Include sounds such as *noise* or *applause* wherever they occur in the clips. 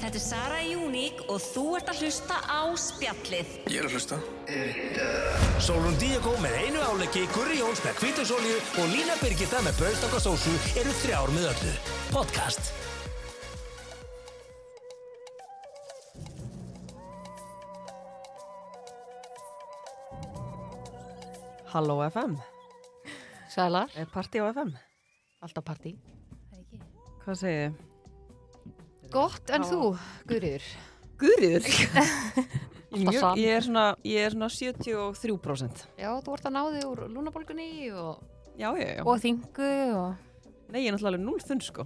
Þetta er Sara Júník og þú ert að hlusta á spjallið. Ég er að hlusta Sólrún Díakó með einu áleggi, Gurri Jóns með kvítusólju og Lína Birgitta með braustakasósu eru þrjár með öllu. Podcast. Halló FM, Sælar, er party á FM? alltaf partí Hvað segir þið? Gott en þú, Guðriður *laughs* Guðriður? Alltaf Mjög, saman. ég, er svona, ég er svona 73% Já, þú ert að náði úr lúnabolgunni og, Já, já, já. og þingu og... Nei, ég er náttúrulega alveg 0 þunn sko.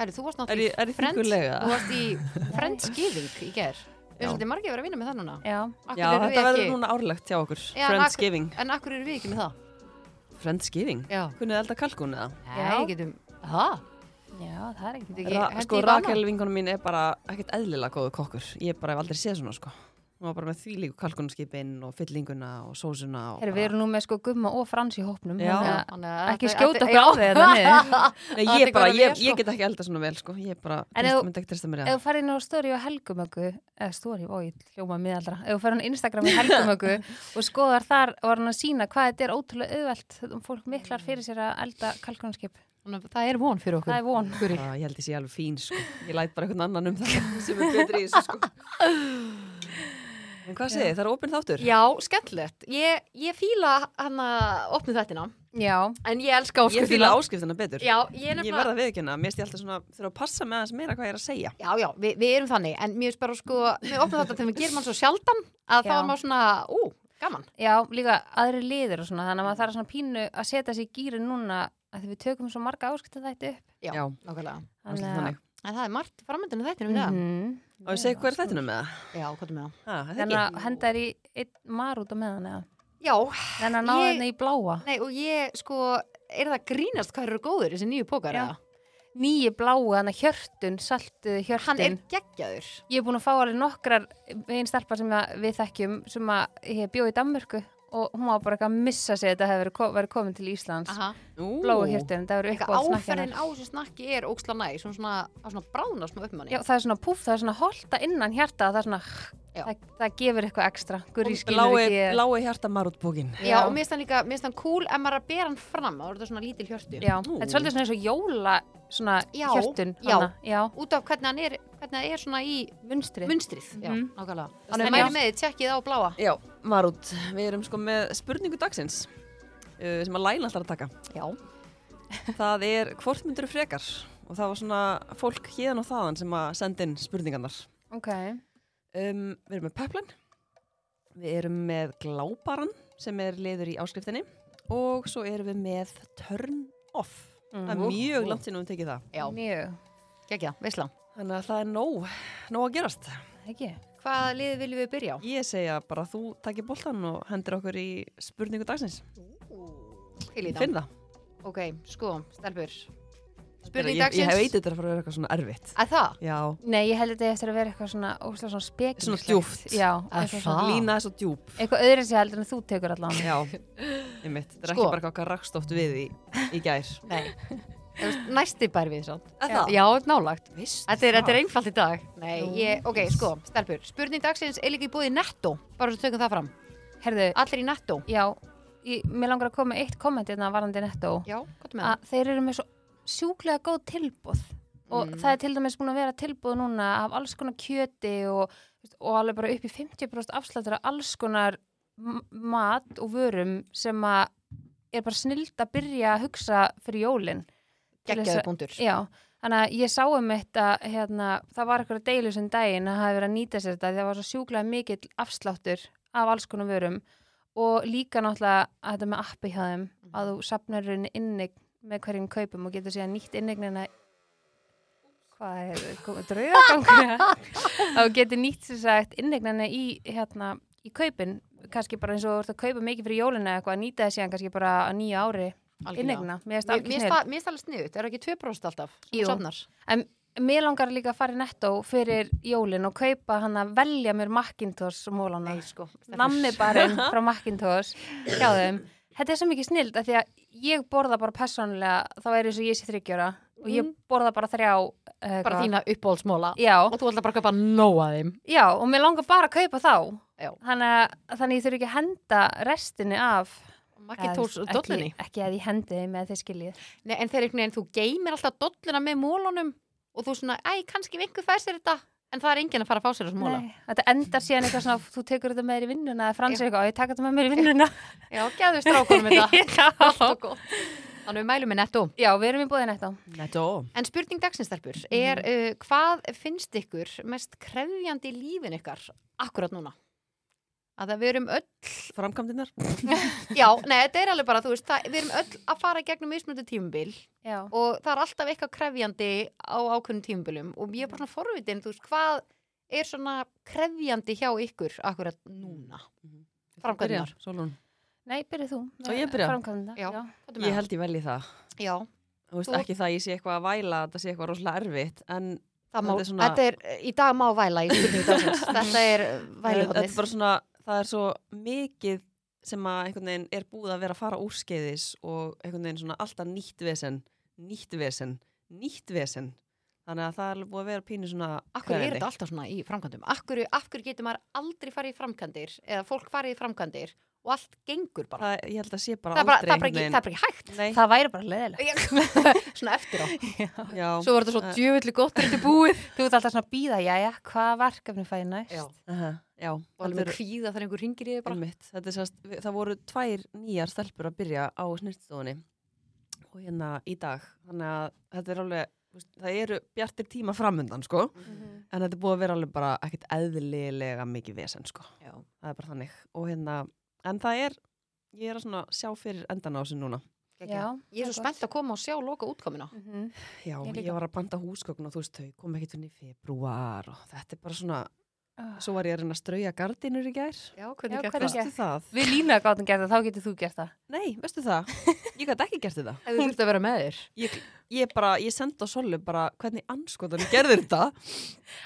Herri, þú varst Er ég- er náttúrulega ég þungulega? Þú varst í frendskýðing í ger Já. Er svolítið margir að vera að vinna með það núna? Já, Akkur Já, erum þetta við verður ekki- núna árlegt hjá okkur. Já, en Friendsgiving. akkur- En akkur eru við ekki með það? Friendsgiving? Já. Kunnið þið elda kalkun eða? Já, Já. ég getum Það? já, það er ekki Þetta Ra ekki- sko, hendi í vana. Rakel vinkonum mín er bara ekkert eðlilega góðu kokkur. Ég bara hef aldrei séð svona sko. Hún var bara með þvílíku kalkunskipinn og fyllinguna og sósuna og Heru, Við erum nú með sko gumma og frans í hópnum Já. þannig að Þannig að Ekki þetta- hérna skjóta þetta- okkur á já. þig þarna niður. *laughs* Nei, Þetta ég er bara, góð að ég, vera, ég sko. get ekki elda svona vel sko. Ég bara, En treyst- ef- myndi ekki trista mér *laughs* Ef þú farir inn á story og helgumöku eða story, ó, ég hljóma miðaldra Ef þú farir inn á Instagram og *laughs* helgumöku og skoðar þar og var hann að sína hvað þetta er ótrúlega auðvelt um fólk miklar fyrir sér að elda kalkunarskip Þannig að Það er von fyrir okkur Það er von Guri. Já, ég held ég sé alveg fín sko. Ég læt bara einhvern annan um það *laughs* sem er betri í þessu sko. En hvað segir þið? Það er opinn þáttur? Já, skemmtilegt Ég, ég fíla hann að opna þettina Já, En ég elska Ég áskriftina. fýla áskriftina betur. Já, ég er Ég nefnilega verða að viðkynna. Mér stið alltaf svona, þurfa að passa með aðeins meira hvað ég er að segja. Já, já, við, við erum þannig, en mér er bara sko, við opnum þetta þegar við gerum hann svo sjaldan að þá Já. er maður svona, ú, gaman. já, líka aðri liðir og svona þannig að maður þarf svona pínu að setja sig í gýrin núna að því við tökum svo marga áskipta þetta upp Já, Já. nákvæmlega. Það er svolítið þannig. En það er margt framöndinu þættinum mm -hmm. Mhm. Og ég segi hvað er þættinum með það? Já, hvað er með það? Ha, er það Þannig ekki? að henda þér í einn mar út á meðan eða Já, Þannig að náða Ég- henni í bláa nei, og ég sko, er það að grínast hvað þeir eru góður, þessi nýju pókar Já. eða? Nýju bláa, þannig að hjörtun, saltuð hjörtun Hann er geggjaður. Ég er búin að fá alveg nokkrar einn stelpa sem að við þekkjum sem að ég bjóð í Danmörku og hún var bara eitthvað að missa sig að þetta hefur ko verið komin til Íslands Aha. Ú. Bláa hjörtun, það eru Eitthvað eitthvað áferðin á þessu snakki er óksla næ, svona svona, það svona brána smá upp manni. Já, það er svona púff, það er svona holta innan hjarta það er svona, Já. það, það gefur eitthvað ekstra Guri skilur Blái, ekki eh, blái hjarta marútbókin. Já, og mér finnst hann líka, mér finnst hann cool ef maður er að bera hann fram, þá er þetta svona lítil hjörtu. Já, þetta er svolítið svona eins og jóla svona Já, hjörtun já. hana, já, Út af hvernig hann er, hvernig það er svona í munstrið munstrið, já, Mhm. nákvæmlega Þannig þannig að mæli já. með þið, tjekkið á bláa Já, marút. Við erum sko með spurningu dagsins uh, sem að læna alltaf að taka. já, Það er hvort myndur frekar og það var svona fólk híðan og þaðan sem að senda inn spurningarnar. Ok, Um, við erum með Peplan, við erum með Glábaran sem er liður í áskriftinni og svo erum við með Turn Off. Það er mjög langt sinn og við tekið það. já, mjög, gekkja, veisla Þannig að það er nóg, nóg að gerast. ekki hvaða liðið viljum við byrja á? Ég segja bara að þú takir boltan og hendir okkur í spurningu dagsins. Til í Finn það. ok, sko, stelpur Ég, spurning ég hef dagsins, eitið þetta er að fara að vera eitthvað svona erfitt. að það Já. Nei, ég held að þetta eftir að vera eitthvað svona óslega svona spekilegt Svona djúpt. Já, Að eitthvað það? svona Lína er svo djúb. Eitthvað öðru sem ég heldur en þú tekur allan Ah. *laughs* Já. Einmitt. Þetta er Sko. ekki bara eitthvað rakstótt við í, í gær. nei, Þú veist, næsti bær við samt Er það? já, nálagt Vist. Þetta er, þetta er einfalt í dag Nei, ég, ok, sko, stelpur Spurning dagsins er líka í búið netto Bara svo tökum það fram Herðu, Allir í netto já, ég, mér langar að koma með eitt komment hérna varandi netto Já, gott með það að þeir eru með svo sjúklega góð tilbúð og það er til dæmis búin að vera tilbúð núna af alls konar kjöti og, og alveg bara upp í 50% afslættur af alls konar m- mat og vörum sem að er bara snild að byrja að hugsa fyrir jólin til þess Gekkjaður að- búndur Já, þannig að ég sá um þetta hérna, það var eitthvað deilu sem daginn að hafa verið að nýta sér þetta því það var svo sjúklega mikill afsláttur af alls konar vörum og líka náttúrulega að þetta með appi hjá þeim Mhm. að þú sapnar rauninni innig með hverjum kaupum og getur síðan nýtt innignina hvað er þetta, *laughs* draugagangur að þú getur nýtt sér sagt innignina í hérna í kaupin, kannski bara eins og þú ert að kaupa mikið fyrir jólina eitthvað, nýta þess síðan kannski bara á nýja ári innegna, mér finnst Mér algjör mér finnst það- mér finnst það alveg sniðut, er það ekki 2% alltaf? Jú. Sopnar. En mér langar líka að fara í netto fyrir jólin og kaupa hann að velja mér Macintosh mólana. Nei, sko, stelpur. Nammi *laughs* barinn frá Macintosh hjá þeim. Þetta er svo mikið snild að því að ég borða bara persónulega þá er eins og ég sé þryggjöra og ég borða bara þrjá eh, Mm. bara eitthvað. þína uppbólsmóla já, og þú ætla bara að köpa nóa þeim já, og mér langar bara að kaupa þá Já. þannig að þannig að ég þurfi ekki að henda restinni af Maggi tóls Eða, dollunni ekki, ekki að ég hendi þeim með þeir skiljið Nei, en þeir einhvern veginn, þú geymir alltaf dolluna með mólunum og þú svona, æ, kannski einhver fær sér þetta en það er enginn að fara að fá sér þessu móla Nei, þetta endar síðan eitthvað svona þú tekur þetta með þér í vinnuna eða fransir eitthvað og ég taka þetta með mér í vinnuna *laughs* Já, gefðu strákunum *laughs* þetta Allt já. og gott. Þannig við mælum með netto já, við erum í búðin eitt á Netto. En spurning dagsinstelpur er uh, hvað finnst ykkur mest krefjandi í lífin ykkar akkurat núna? Að það við erum öll Framkvæmdinnar. Já, nei, þetta er alveg bara, þú veist, það, við erum öll að fara í gegnum mismunandi tímubil já. og það er alltaf eitthvað krefjandi á ákveðnum tímubilum og ég er bara svona forvitin, þú veist, hvað er svona krefjandi hjá ykkur akkurat núna? Framkvæmdinnar. Solon. nei, byrjuð þú Á ég að byrja? Framkvæmda, Já. já. Hvað er Ég með það? held ég vel í það. Já, Þú veist Þú- ekki það að ég sé eitthvað að væla, þetta sé eitthvað rosalega erfitt, en eh, það Þetta má, þetta er er, svona- í dag má væla í *laughs* spurningu dagsins, þetta er þetta er væluhotnið. bara svona, það er svo mikið sem að einhvern veginn er búið að vera að fara úrskeiðis og einhvern veginn svona alltaf nýtt vesen, nýtt vesen, nýtt vesen. Þannig að það er alveg búið að vera pínu svona Akkur er krefjandi. þetta alltaf svona í framkvæmdum? Akkur, akkur getur maður aldrei farið í framkvæmdir eða fólk farið í framkvæmdir og allt gengur bara. Það, ég held að sé bara Það, er bara, aldrei það, er bara, ekki, það er bara ekki *laughs* hægt. Nei, það væri bara leðilegt svona eftir á. já, Svo var þetta svo Eh. djöfulli gott þegar þetta er búið. þú ert alltaf svona að býða, já, já, hvað verkefni fæði næst Já, aha, já, og alveg þetta með er kvíða þegar einhver ringir í þig bara. einmitt. Þetta er sérst, við- það voru tvær nýjar stelpur að byrja á snirtstofunni og hérna í dag. Þannig að þetta er alveg, þú veist, það eru bjartir tíma framundan, sko. Mhm. En þetta er búið að vera alveg bara ekkert eðlilega mikið vesen, sko. Já. Það er bara þannig. Og hérna, en það er, ég er að svona sjá fyrir endan á þessu núna. já, Ég er svo spennt að koma og sjá loka útkomina. Mhm. Já, Ég ég, líka. var að banta húsgögn og þú veist, þau kom ekkert fyrir februar og þetta er bara svona, Ah. svo var ég að reyna að strauja gardinur í gær. Já, Já, hvernig gekk hvernig það? gekk? Veistu það? við lína gátum gert það, þá getur þú gert það Nei, veistu *laughs* það? Ég gæti ekki gert þetta. Ef þú þurft að vera með þér. Ég, ég bara, ég sendi á Sollu bara hvernig anskotanum gerðir *laughs* þetta.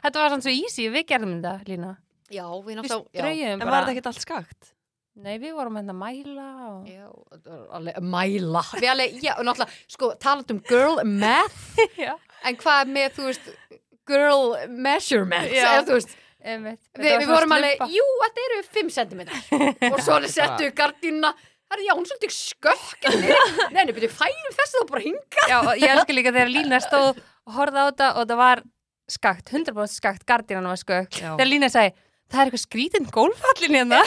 þetta var svona svo easy, við gerðum þetta lína Já, við við náttúrulega... ströjum En bara var þetta ekkert allt skakt? nei, við vorum hérna að mæla og... Já, þetta var alveg mæla Við alveg, já, og náttúrulega, sko, taland um girl *laughs* math Já. En hvað með, þú veist, girl measurement Já. eða, þú veist, Einmitt. Þetta Við, var við svona vorum alveg, slubba. jú, þetta eru 5 cm Og svo alveg settu við gardínuna Það er, já, hún er svolítið skökk hérna niður. Nei, nei, byrju, færum þessi þá bara hinga Já, og ég elsku líka þegar Lína stóð og horfði á þetta og það var skakt, 100% skakt, gardínan var skökk. Já. Þegar Lína sagði, það er eitthvað skrítinn gólfallin *laughs* hérna.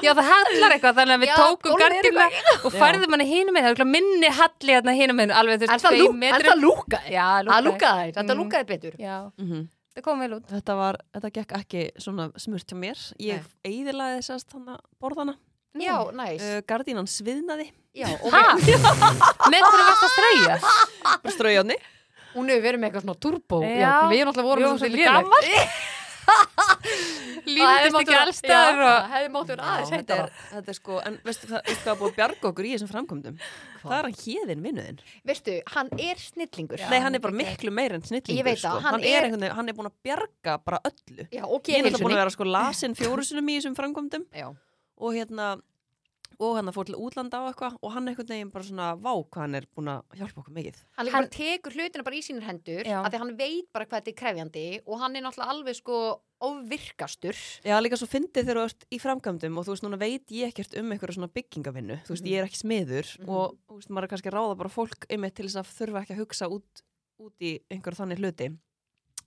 Já, það hallar eitthvað, þannig að við Já, tókum gólfið er gardínan og færðum hana hinum einn, það er eitthvað minni halli hérna hinum einn, alveg þú En veist, það, lú, en tveim metrum. það lúkaði Já, Það lúkaði. lúkaði, þetta Mm. lúkaði betur Já, Mm Mhm. -hmm. það kom vel út. Þetta var, þetta gekk ekki svona smurt hjá mér. Ég eiðilaði sérst þannig borðana. Já, næs Uh, gardínan sviðnaði. Já, og Hæ? Með hverju varst að strauja? Bara *laughs* straujóni. hún hefur verið með eitthvað svona turbo Já. Við náttúrulega vorum Við vorum svolítið svolítið léleg. gamall. Það hefði Líndist mátt ekki vera- allstaðar Já, og... það hefði mátt vera aðeins þetta, heitara er- þetta er sko, en veistu hvað, veistu hvað er búið að bjarga okkur í þessum framkomdum? Það er hann hérðin vinnuðinn. veistu, hann er snillingur Nei, hann er bara miklu meir en snillingur. Ég veit það, sko. hann hann, er... er- einhvern veginn- hann er búin að bjarga bara öllu. já, og Ég er náttúrulega búin að geðheilsunni vera sko lasin fjórusunum í þessum framkomdum Já. og hérna, og hann fór til útlanda á eitthvað og hann einhvern veginn bara svona vá hvað hann er búin að hjálpa okkur mikið. hann líka bara tekur hlutina bara í sínir hendur Já. af því hann veit bara hvað þetta er krefjandi og hann er náttúrulega alveg sko óvirkastur Já, líka svo fyndið þegar þú ert í framkvæmdum og þú veist, núna veit ég ekkert um einhverja svona byggingavinnu, þú veist, ég er ekki smiður og þú veist, maður er kannski að ráða bara fólk um til þess að þurfa ekki að hugsa út, út í einhverja þannig hluti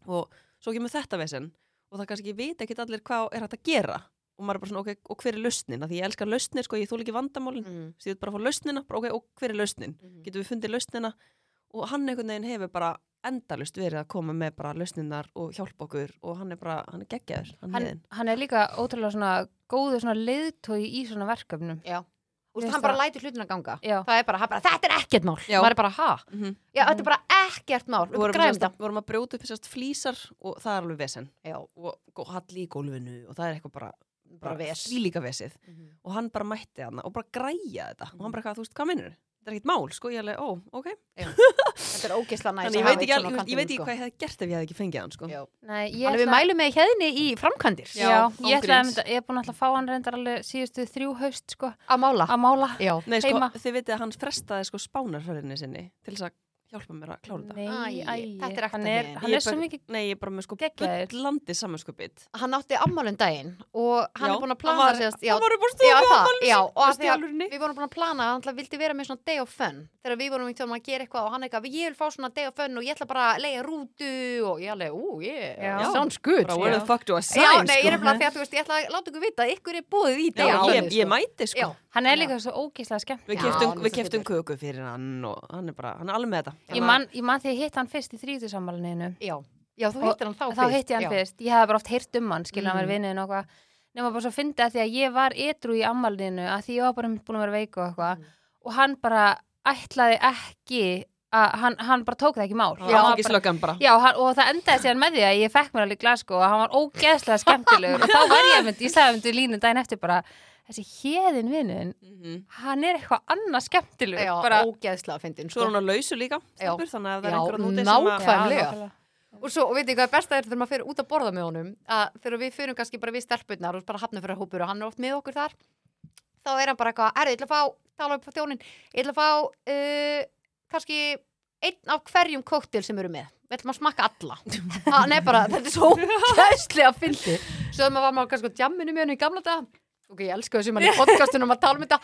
og svo kemur þetta vesen og það kannski veit ekkert allir hvað er hægt að gera og maður er bara svona, ok, og hver er lausnin? Af því ég elskar lausnir, sko, ég þúl ekki vandamálin, mm. þú veist, ég vil bara að fá lausnina, bara ok, og hver er lausnin? Getum við fundið lausnina? Og hann einhvern veginn hefur bara endalust verið að koma með bara lausninar og hjálpa okkur og hann er bara, hann er geggjaður, hann, hann, hann hann er líka ótrúlega svona góður svona leiðtói í svona verkefnum já Úst, Veist hann bara það- lætur hlutina ganga Já. það er bara, hann bara, þetta er ekkert mál Já. maður er bara, ha, Mhm. já, Mm. þetta er bara ekkert mál Við við vorum, bara sérst, græfum að, vorum að brjóta upp sérst flísar og það er alveg vesen það já, og gó- halli í gólfinu og það er eitthvað bara, bara ves líka vesið Mhm. og hann bara mætti hana og bara græja þetta og hann bara eitthvað, þú veist, hvað minnur? þetta er ekkert mál, sko, ég er alveg, ó, ok Þetta er ógisla næs Þannig ég veit ekki, al, ég, veit ekki hvað ég hefði gert ef ég hefði ekki fengið hann, sko sko. Já. Nei, ég Þannig við ætla- mælum með hérni í framkantir Já, Já, ég, ætla, ángríns. ég er búin að ætla að fá hann reyndar alveg síðustu þrjú haust sko, Að mála að mála Já, Nei, sko, Heima. þið vitið að hann frestaði sko spánarferðinni sinni til þess að hjálpa mér að klára þetta Nei, Æ, æ, þetta er ekta hann er, gen. hann Ég er svo bara- mikið Nei, ég er bara með sko Geggjaður. bullandi samanskupið hann átti ammálum daginn og hann Já, er búin að hann plana var- sérst, hann var upp á stofu já, á það, afmæli já, sínu, og af veistu því í að alvörunni? við vorum búin að plana að hann vildi vera með svona day of fun þegar við vorum einhvern veginn að gera eitthvað og hann eitthvað, ég vil fá svona day of fun og ég ætla bara að leiða rútu og ég alveg, ú, Já. yeah, sounds good Bara sko. where the fuck do I sign, Já, nei, sko ég er nefnilega því að þú veist, ég ætla að láta ykkur vita að ykkur er búið Já, í day of fun ég, ég mæti, sko Já, Hann er líka svo ógeðslega skemmt Við Já, hann keftum, er við svo keftum köku fyrir hann og hann er bara, hann er alveg með þetta Ég man, ég man því að hitt hann fyrst í þrýðusammalininu já, já, þú hittir hann þá Þá hitti ég hann já. fyrst, ég hef bara oft heyrt um hann skilja hann Mm. verið vinniðin og eitthvað nema bara svo fyndi að því að ég var etru í ammalinu að því ég var bara einmitt búin að vera veik og eitthvað Mm. og hann bara ætlaði ekki að hann, hann bara tók það ekki í mál Já, Hann var ekki bara, slökan bara já hann, og það endaði síðan með því að ég fekk mér alveg glas sko og hann var ógeðslega skemmtilegur og þá var ég mynd, ég sagði mynd í línu daginn eftir bara þessi hérðin vinniðin Mhm. hann er eitthvað annað skemmtilegur Já, bara, ógeðslega fyndin sko. Svo er hann að lausu líka, Já. stelpur, þannig að það Já, er einhver að núti nákvæmlega. sem að ókvæmlega. Og svo, og veitu hvað er besta er þegar maður fyrir út að borða með honum að þegar við fyrir kannski bara við stelpunnar og bara hafnum fyrir hópur og hann er oft með okkur þar þá er hann bara eitthvað, er ég ætla að fá tala upp á þjónin, ég ætla að fá uh, kannski einn af hverjum kóktil sem eru með, við ætlum að smakka *laughs* alla Ha, Nei bara, þetta er svo ógæðslega fyndi Svo maður var maður kannski á jamminu með hann í gamla dag Ok, ég elska þessu mann í podcastunum að tala um þetta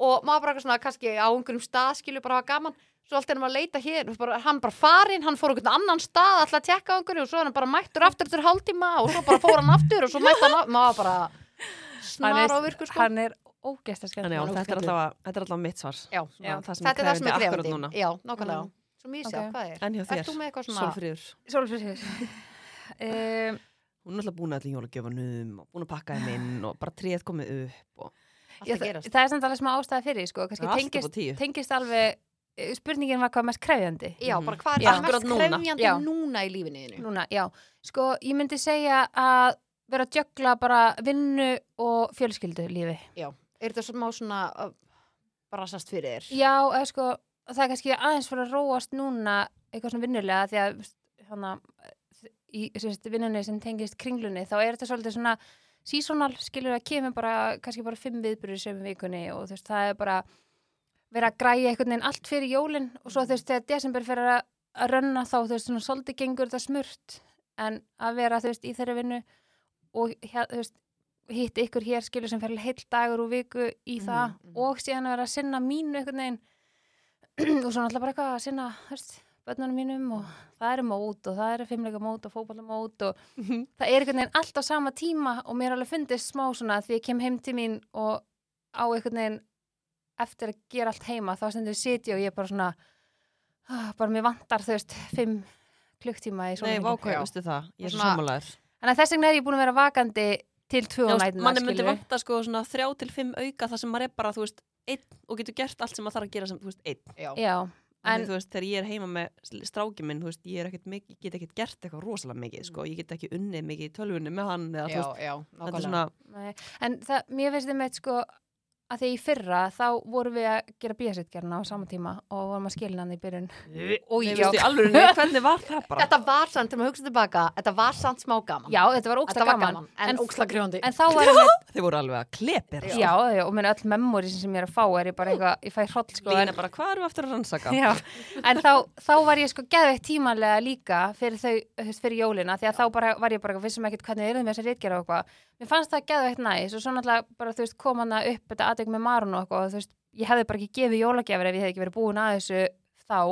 og maður bara eitthvað svona kannski á einhverjum stað skilur bara hafa gaman svo allt er maður að leita hér, bara, hann bara farinn hann fór einhvern annan stað alltaf að tjekka á einhverju og svo er hann bara mættur aftur eftir hálftíma og svo bara fór hann aftur og svo mætti hann aftur maður bara hann snar á er, virku sko hann er ógeðslega Þannig já, skemmtilegur þetta Hann er er óskemmtilegur. allavega- þetta er allavega mitt svar já, Svona, það sem þetta er það sem er krefjandi akkúrat núna. Mm. krefandi já, nákvæmlega, svo mísja, Ok. hvað er En hjá þér, ert þú með eitthvað svona Solfríður Sólfríður *laughs* um, Hún er alltaf búin að allir jólagjöfunum og búin að pakka þeim inn og bara tréð komið upp og allt já, að það, gerast það er samt alveg smá ástæða fyrir því, sko. kannski Það er allt upp á tengist, tíu. tengist alveg eh, spurningin var hvað mest krefjandi já, bara hvað Já. er það Akkúrat mest núna. krefjandi Já. núna í lífinu þínu núna, já, sko ég myndi segja að vera að jökla bara vinnu og fjölskyldu lífi er þetta smá svona uh, brasast fyrir þér já, eða sko, það er kannski aðeins fyrir að róast núna eitthvað svona vinnulega því að hana, í sérst, vinnunni sem tengist kringlunni þá er þetta svolítið svona sísonal skilur að kemur bara, kannski bara fimm viðbyrður sem vikunni og þú veist, það er bara vera að græja einhvern veginn allt fyrir jólin og svo þú veist, þegar desember fyrir að, að rönna þá, þú veist, svona svolítið gengur þetta smurt en að vera, þú veist, í þeirra vinnu og hér, þú veist hitt ykkur hér skilur sem fyrir heill dagur og viku í það mhm. og síðan að vera að sinna mínu einhvern veginn *clears throat* og svo náttúrulega bara eitthvað að sinna, þú veist, börnunum mínum og það eru mót og það eru fimmleika mót og fótballa mót og Mhm. það er einhvern veginn allt á sama tíma og mér er alveg fundist smá svona því ég kem heim til mín og á einhvern veginn eftir að gera allt heima þá stendur ég sitja og ég er bara svona ah, bara mér vantar þú veist fimm klukktíma í svona Nei, vákvæm, veistu það, ég er svo Svona- sammálaður þannig að þess vegna er ég búin að vera vakandi til tvö Já, og veist, nætina Manni myndi skilurðu. vanta sko svona þrjá til fimm auka þar sem maður er bara, þú veist, einn og getur gert allt sem maður þarf að gera sem, þú veist, einn já, já, En en þú veist, þegar ég er heima með stráki minn, þú veist, ég, er ekkert mikið, ég get ekkert gert eitthvað rosalega mikið, sko, ég get ekki unnið mikið í tölvunni með hann eða, þú já, veist, já, þetta er nákvæmlega svona, Nei, en það, mér finnst þeim eitt sko að því í fyrra þá vorum við að gera bíasitgerna á sama tíma og vorum að skilna hann í byrjun og nei, já, veistu, í alveg, *laughs* *laughs* nei, hvernig var það bara? þetta var samt, þegar maður hugsa tilbaka þetta var samt smá gaman já, þetta var þetta ógsta var gaman, gaman, en ógslag grjóndi en þá var ég með, Þeir voru alveg að klepir, já, sko, já, og minn öll memóri sem ég er að fá er ég bara eitthvað, ég fæ hroll sko, en, lína bara, hvað erum við aftur að rannsaka? já, en þá, þá var ég sko geðveitt tímanlega líka fyrir þau, þú veist, fyrir jólina, því að þá bara var ég bara eitthvað vissum ekkert hvernig eruðum þess að reitgera og eitthvað mér fannst það geðveitt næs og svo náttúrulega bara þú veist kom hana upp þetta aðeik með marun og eitthvað og þú veist, ég hefði bara ekki gefið jólagjafir ef ég hefði ekki verið búin að þessu þá,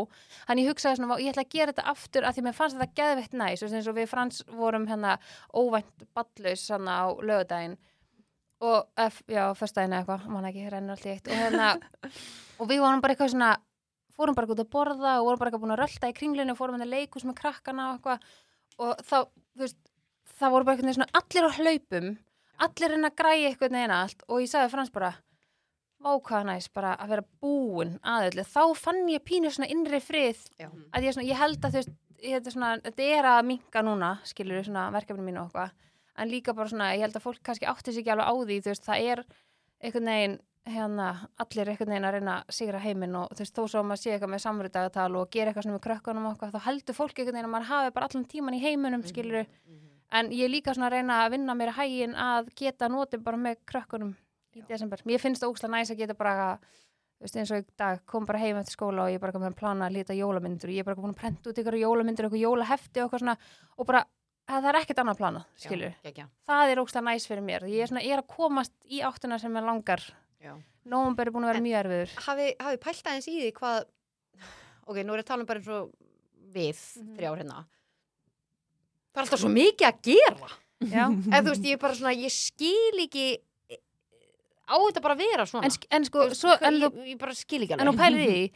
þannig ég hugsaði svona, "Vá, ég ætla að gera þetta aftur að því mér fannst þetta geðveitt næs, þú veist, eins og við Frans vorum hérna óvænt ballaus hana á lögudaginn og, eh, f- já, föstudaginn eða eitthvað, mann ekki, rennur allt í eitt og hérna, og við vorum bara eitthvað svona fórum bara út að borða og vorum bara eitthvað búin að rölda í kringlinu og fórum inn að leikus með krakkana og eitthvað og þá, þú veist, það voru bara eitthvað svona allir á hlaupum allir henni að græja eitthvað neina allt og ég sagði frans bara vákvæða næs bara að vera búin aðeins þá fann ég pínu svona innri frið Já. að ég, svona, ég held að þú veist ég, þetta, er svona, þetta er að minka núna skilur við svona verkefni mínu og eitthvað en líka bara svona, ég held að fólk kannski átti sig ekki alveg á því þú veist, það er einhvern veginn hérna, allir einhvern veginn að reyna að sigra heiminn og þú veist, þó svo að maður sé eitthvað með samrýdagatal og gera eitthvað svona með krökkunum og eitthvað, þá heldur fólk einhvern veginn að maður hafi bara allan tíman í heiminum, skilur en ég er líka svona að reyna að vinna mér að hægin að geta notið bara með krökkunum í desember. Mér finnst það ógslag næs að geta bara að þú veist, eins og í dag kom bara heim eftir skóla og ég bara kom með að plana að lita jólamyndur og ég er bara búin að prenta út ykkur jólamyndur, ykkur jólahefti og eitthvað svona og bara að það er ekkert annað að plana, skilur Já, gekkja. það er ógstlega næs fyrir mér. Ég er, svona, ég er að komast í áttuna sem ég langar. Já. Nómber er búin að vera En- mjög erfiður. hafi, hafi pælt aðeins í því hvað ok, nú er ég að tala um bara eins og við Mhm. þrjár hérna það er alltaf svo mikið að gera Já. eða þú veist, ég er bara svona, ég skil ekki eh, á þetta bara að vera svona En, sk- en sko, svo, Hvað- en þú, ég, ég bara skil ekki en þú pælir í því,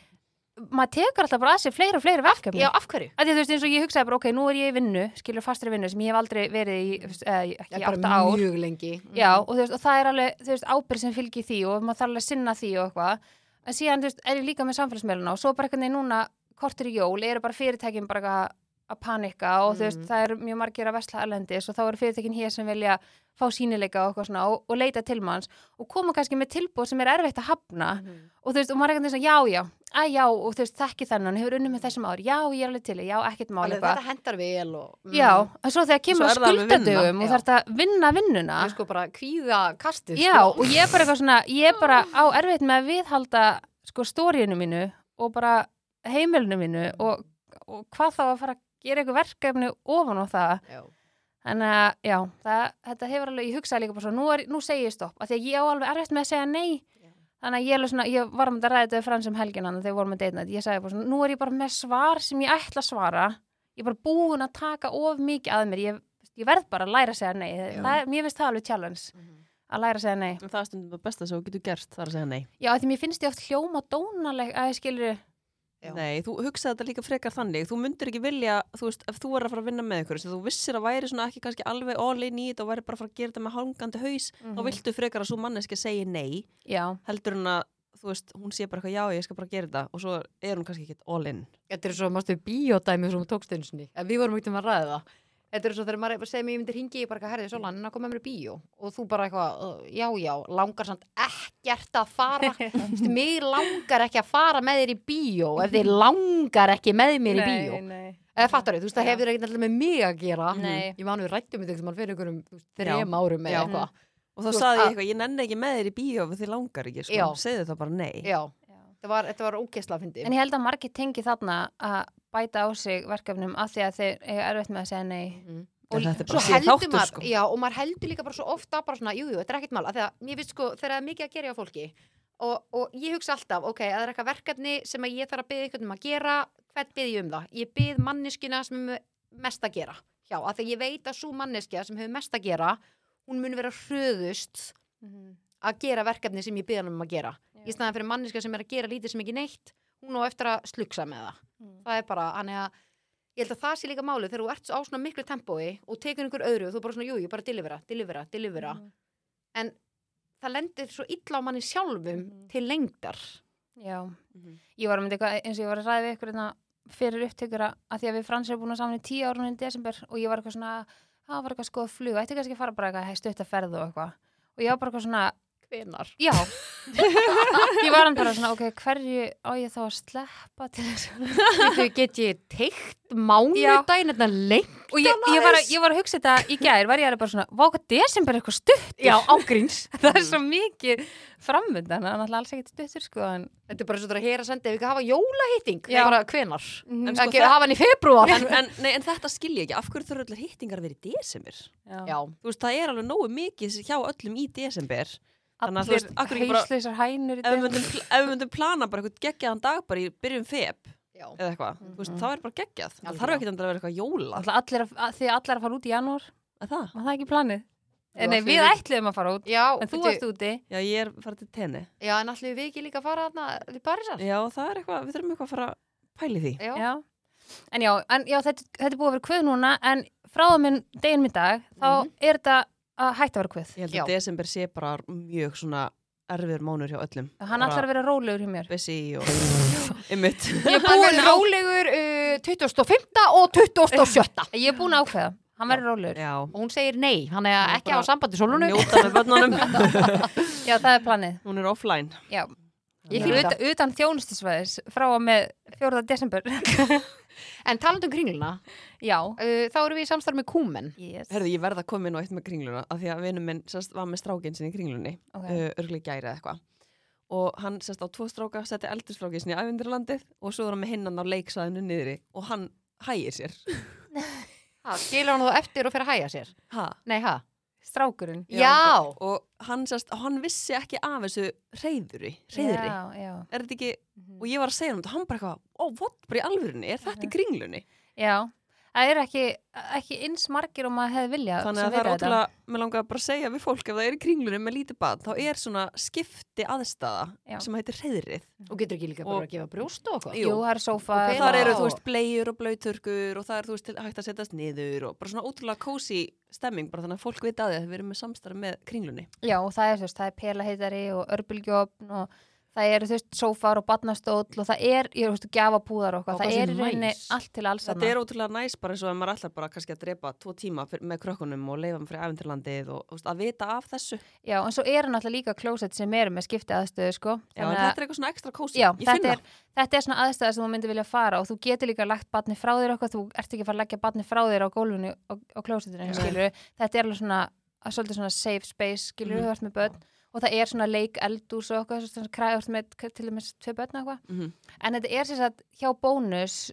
maður tekur alltaf bara að sér fleiri og fleiri verkefni. já, af hverju? Af Því, að þú veist, eins og ég hugsaði bara, ok, nú er ég í vinnu, skilur fastri vinnu sem ég hef aldrei verið í, þú veist, eða í- ekki í átta ár. mjög lengi Já, og, þú veist, og það er alveg, þú veist, ábyrð sem fylgir því og maður þarf alveg að sinna því og eitthvað. En síðan, þú veist, er ég líka með samfélagsmeiluna og svo bara eitthvað núna, kortur í jól, eru bara fyrirtækin bara eitthvað að panika og þú veist, Mhm. það eru mjög margir að vesla erlendis og þá eru fyrirtækin hér sem vilja fá sínileika og eitthvað svona og, og leita til manns og koma kannski með tilbúð sem er erfitt að hafna Mhm. og þú veist, og maður er eitthvað svona, já, já, að já, og þú veist, þekki þennan, hefur unnið með þessum ár, já, ég er alveg til, í, já, ekkert mál Alveg, eitthvað. þetta hendar vel og mm, Já, en svo þegar kemur Svo að er það alveg vinna. skuldadögum og Já. þarf þetta að vinna vinnuna. ég sko bara kvíða kastið Já, sko. og ég er bara eitthvað svona, ég er bara á erfitt með að viðhalda sko stóriðinu mínu og bara heimilinu mínu og, og hvað þá að fara að gera eitthvað verkefni ofan á það. Já. Þannig að, já, það, þetta hefur alveg, ég hugsaði líka bara svona, nú, er, nú segi ég stopp, af því að ég á alveg erfitt með að segja nei. Þannig að ég, er alveg svona, ég var með að ræða þetta við frans um helginan þegar við vorum að deitna þetta. Ég sagði bara svona, nú er ég bara með svar sem ég ætla að svara. Ég er bara búin að taka of mikið að mér. Ég, ég verð bara að læra að segja nei. Það, mér finnst það alveg challenge að læra að segja nei. En það er stundum að besta sem þú getur gert þar að segja nei. Já, af því mér finnst ég oft hljóma dónaleg að ég skilur Já. Nei, þú hugsaði þetta líka frekar þannig. Þú myndir ekki vilja, þú veist, ef þú er að fara að vinna með einhverju sem þú vissir að væri svona ekki kannski alveg all in í þetta og væri bara að fara að gera þetta með hangandi haus, Mhm. þá viltu frekar að svo manneski segi nei, Já, heldur hún að, þú veist, hún sé bara eitthvað já, ég skal bara gera þetta og svo er hún kannski ekki all in. Þetta er svo, mástu, bíódæmi sem hún tókst einu sinni. En við vorum ekkert um að ræða það. Þetta er svo þegar maður segir mér, ég myndir hingi, ég bara eitthvað, herði, Solan, en að koma með mér í bíó. Og þú bara eitthvað, "Uh, já, já, langar samt ekkert að *laughs* fara. Vistu, mig langar ekki að fara með þér í bíó ef þið langar ekki með mér í bíó. nei. Eða fattar þau, þú veist, það Já. hefur ekkert alltaf með mig að gera. Nei. Ég manu, við rættum þetta eitthvað fyrir einhverjum þú veist, Já. þrem árum eða Já. eitthvað. Og þá Þú veist, saði ég að- eitthvað, ég nenni ekki með þér í bíó ef þið langar ekki, sko. Já. Segðu það bara nei. Já, þetta var, þetta var ógeðslega að En ég held að margir tengi þarna að bæta á sig verkefnum af því að þeir eiga erfitt með að segja nei En þetta er svo bara síðan heldur þáttur, maður, sko. já, og maður heldur líka bara svo ofta bara svona, jú, jú, þetta er ekkert mál af því að mér finnst sko, þegar það er mikið að gera hjá fólki og, og ég hugsa alltaf, ok, að það er eitthvað verkefni sem að ég þarf að byggja eitthvað um að gera hvern byggja ég um það? Ég bygg manneskina sem er með mest að gera já, af því að ég veit að svo manneskja sem hefur mest að gera hún mun vera hröðust Mhm. Mm. að gera verkefni sem ég byggja hann um að gera í staðan fyrir manneskja sem er að gera lítið sem ekki neitt hún á eftir að slugsa með það Mhm. það er bara, hann er að ég held að það sé líka málið þegar þú ert á svona miklu tempói og tekur einhver öðru og þú bara svona, jú, ég bara delivera, delivera, delivera Mhm. en það lendir svo illa á manni sjálfum Mhm. til lengdar Já, Mhm. ég var um eitthvað eins og ég var að ræða við ykkur hérna fyrir upptökur að af því að við frans erum búin að saman í tíu ára núna í desember og ég var eitthvað svona, það var eitthvað skoða flug ætti kannski að fara bara eitthvað stutt að ferð og eitthvað og ég var bara eitthvað svona, *laughs* hvenar já ég var hann bara svona, ok, hverju á ég þá að sleppa til þess að Þú get ég teikt mánudaginn hérna þetta lengt og ég, ég, var að, ég var að hugsa þetta í gær var ég alveg bara svona, vá hvað desember er eitthvað stutt Já, ágríns *laughs* það er svo mikið framöndan það er náttúrulega alls ekkert stuttur sko en *laughs* Þetta er bara svo þetta að heyra sendi ef ekki hafa jólahitting Já. bara hvenar Mhm. sko, en sko, ekki það- hafa hann í februar En, en, nei, en þetta skil ég ekki, af hverju þurfa allir hittingar að vera í desember? Já, Þú veist, það er alveg nógu mikið hjá öllum í desember. Þannig að þú allir veist, af hverju ekki bara- hauslausar hænur í ef við dag myndum, pl- ef við myndum plana bara eitthvað geggjaðan dag bara í byrjum feb já, eða eitthvað, mm veist, það er bara geggjað það þarf Algjörlega. ekki að vera eitthvað jóla Náttúrulega allir að- að- því að allir að fara út í janúar Er það? var það ekki planið en nei, allir- við ætluðum að fara út já en þú veitu- varst úti Já, ég er farið til tenni Já, en allir við ekki líka að fara þarna til Parísar Já, það er eitthvað, við þurfum eitthvað að fara að pæli því Já, já. en já, en, já þetta, þetta er búið að vera kvöð núna en frá það minn degin minn dag þá er þetta að hætta að vera kvöð Mhm. Ég held Já. að desember sé bara mjög svona erfiður mánur hjá öllum hann ætlar að vera rólegur hjá mér Bessi *laughs* og ymmit Ég er búin rálegur uh, 25. og 27. ég er búin að ákveða hann verður rólegur. Já, og hún segir nei, hann er ekki bara á sambandi sólunu njóta með *laughs* börnunum. Já, það er planið. Hún er offline. Já. Ég Ég fíla fyrir utan, utan þjónustisvæðis frá og með 4. desember. *laughs* en talandu um kringluna, Já. uh, þá erum við í samstarf með Kúmen Yes. Herðu, ég verða að koma inn á eitt með kringluna af því að vinur minn sérst, var með strákinn sinni í kringlunni Ok. okay. uh, örglega gæri eða eitthvað og hann sérst á tvo stráka setti eldur strákinn sinni í ævindirlandið og svo er hann með hinnan á leiksvæðinu niðri og hann hægir sér skilur hann þá eftir og fer að hæja sér ha. nei, ha? Strákurinn. já, já. og hann, sérst, hann vissi ekki af þessu reyðuri, reyðri Já, já. er þetta ekki, Mhm. og ég var að segja hann og hann bara eitthvað, ó, what, bara í alvörunni er þetta í kringlunni Já, það er ekki, ekki eins margir og maður hefði viljað þannig sem að það er vita þetta. ótrúlega, mér langar bara að segja við fólk ef það er í kringlunni með lítið bad þá er svona skipti aðstæða Já. sem heitir reyðrið og getur ekki líka Og- bara að gefa brjóst og eitthvað Jú, það er sófa Og Þar Já. eru, þú veist, bleiur og blauturkur og það er, þú veist, til- hægt að setjast niður og bara svona ótrúlega kósi stemming bara þannig að fólk vita að því að við erum með samstarf með kringlunni. Já, og það er, þú veist, það er pelaheitari og örbulgjöfn og það eru, þú veist, sófar og barnastóll og það er, ég veist, gjafabúðar Ó, og eitthvað, hvað það sem er í rauninni næs. allt til alls Þetta er ótrúlega næs bara eins og að maður ætlar bara kannski að drepa tvo tíma fyr, með krökkunum og leifa með fyrir ævendirlandið og þú veist, að vita af þessu. Já, en svo eru náttúrulega líka klósett sem eru með skipti aðstöðu, sko. Já, en Þannig að- þetta er eitthvað svona ekstra kósi. Já, Ég finn þetta er, það. þetta er svona aðstæða sem þú myndir vilja fara og þú getur líka lagt batni frá þér og eitthvað, þú ert ekki að fara að leggja batni frá þér á gólfinu og, og klósitinu, skilur þetta er alveg svona, að svolítið svona safe space, skilur Mhm. þú ert með börn og það er svona leik eldús og eitthvað, svona kræður með k- til dæmis tvei börn eða eitthvað Mhm. en þetta er sem sagt hjá bónus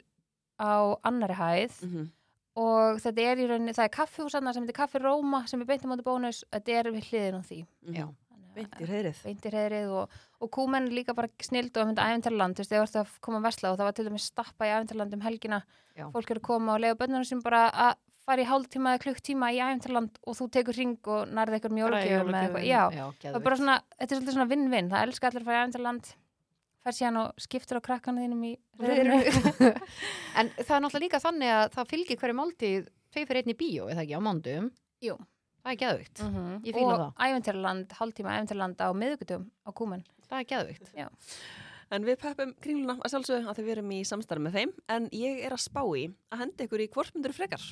á annari hæð Mhm. og þetta er í rauninni, það er kaffihús annað sem heitir Kaffi Róma sem er beintum átti bónus, þetta er við hliðin á því Mhm. Já. Þannig að- Beint í reyðrið. beintirheðrið og, og kúmenn líka bara snild og myndi æfintarland, þú veist, þegar varst að koma að vesla og það var til dæmis stappa í æfintarland um helgina Já. fólk eru að koma og leiða bönnunum sem bara að fara í hálftíma eða klukktíma í æfintarland og þú tekur ring og nærði eitthvað mjólkjöfum eða eitthvað, já, já, það er geðveikt. *laughs* bara svona þetta er svolítið svona vinn-vinn, það elskar allir að fara í æfintarland fer síðan og skiptir á krakkanu þínum í reyðinu, en það er náttúrulega líka þannig að það fylgir hverju máltíð tvei fyrir einni bíó, eða ekki, á mándum Jú. það er geðvikt, Mhm, Ég fíla og æfintarland, hálftíma æfintarland á miðugutum á kúmenn það er geðvikt En við peppum kringluna að sjálfsögðu að því við erum í samstarf með þeim en ég er að spá í að henda ykkur í hvort myndur frekar.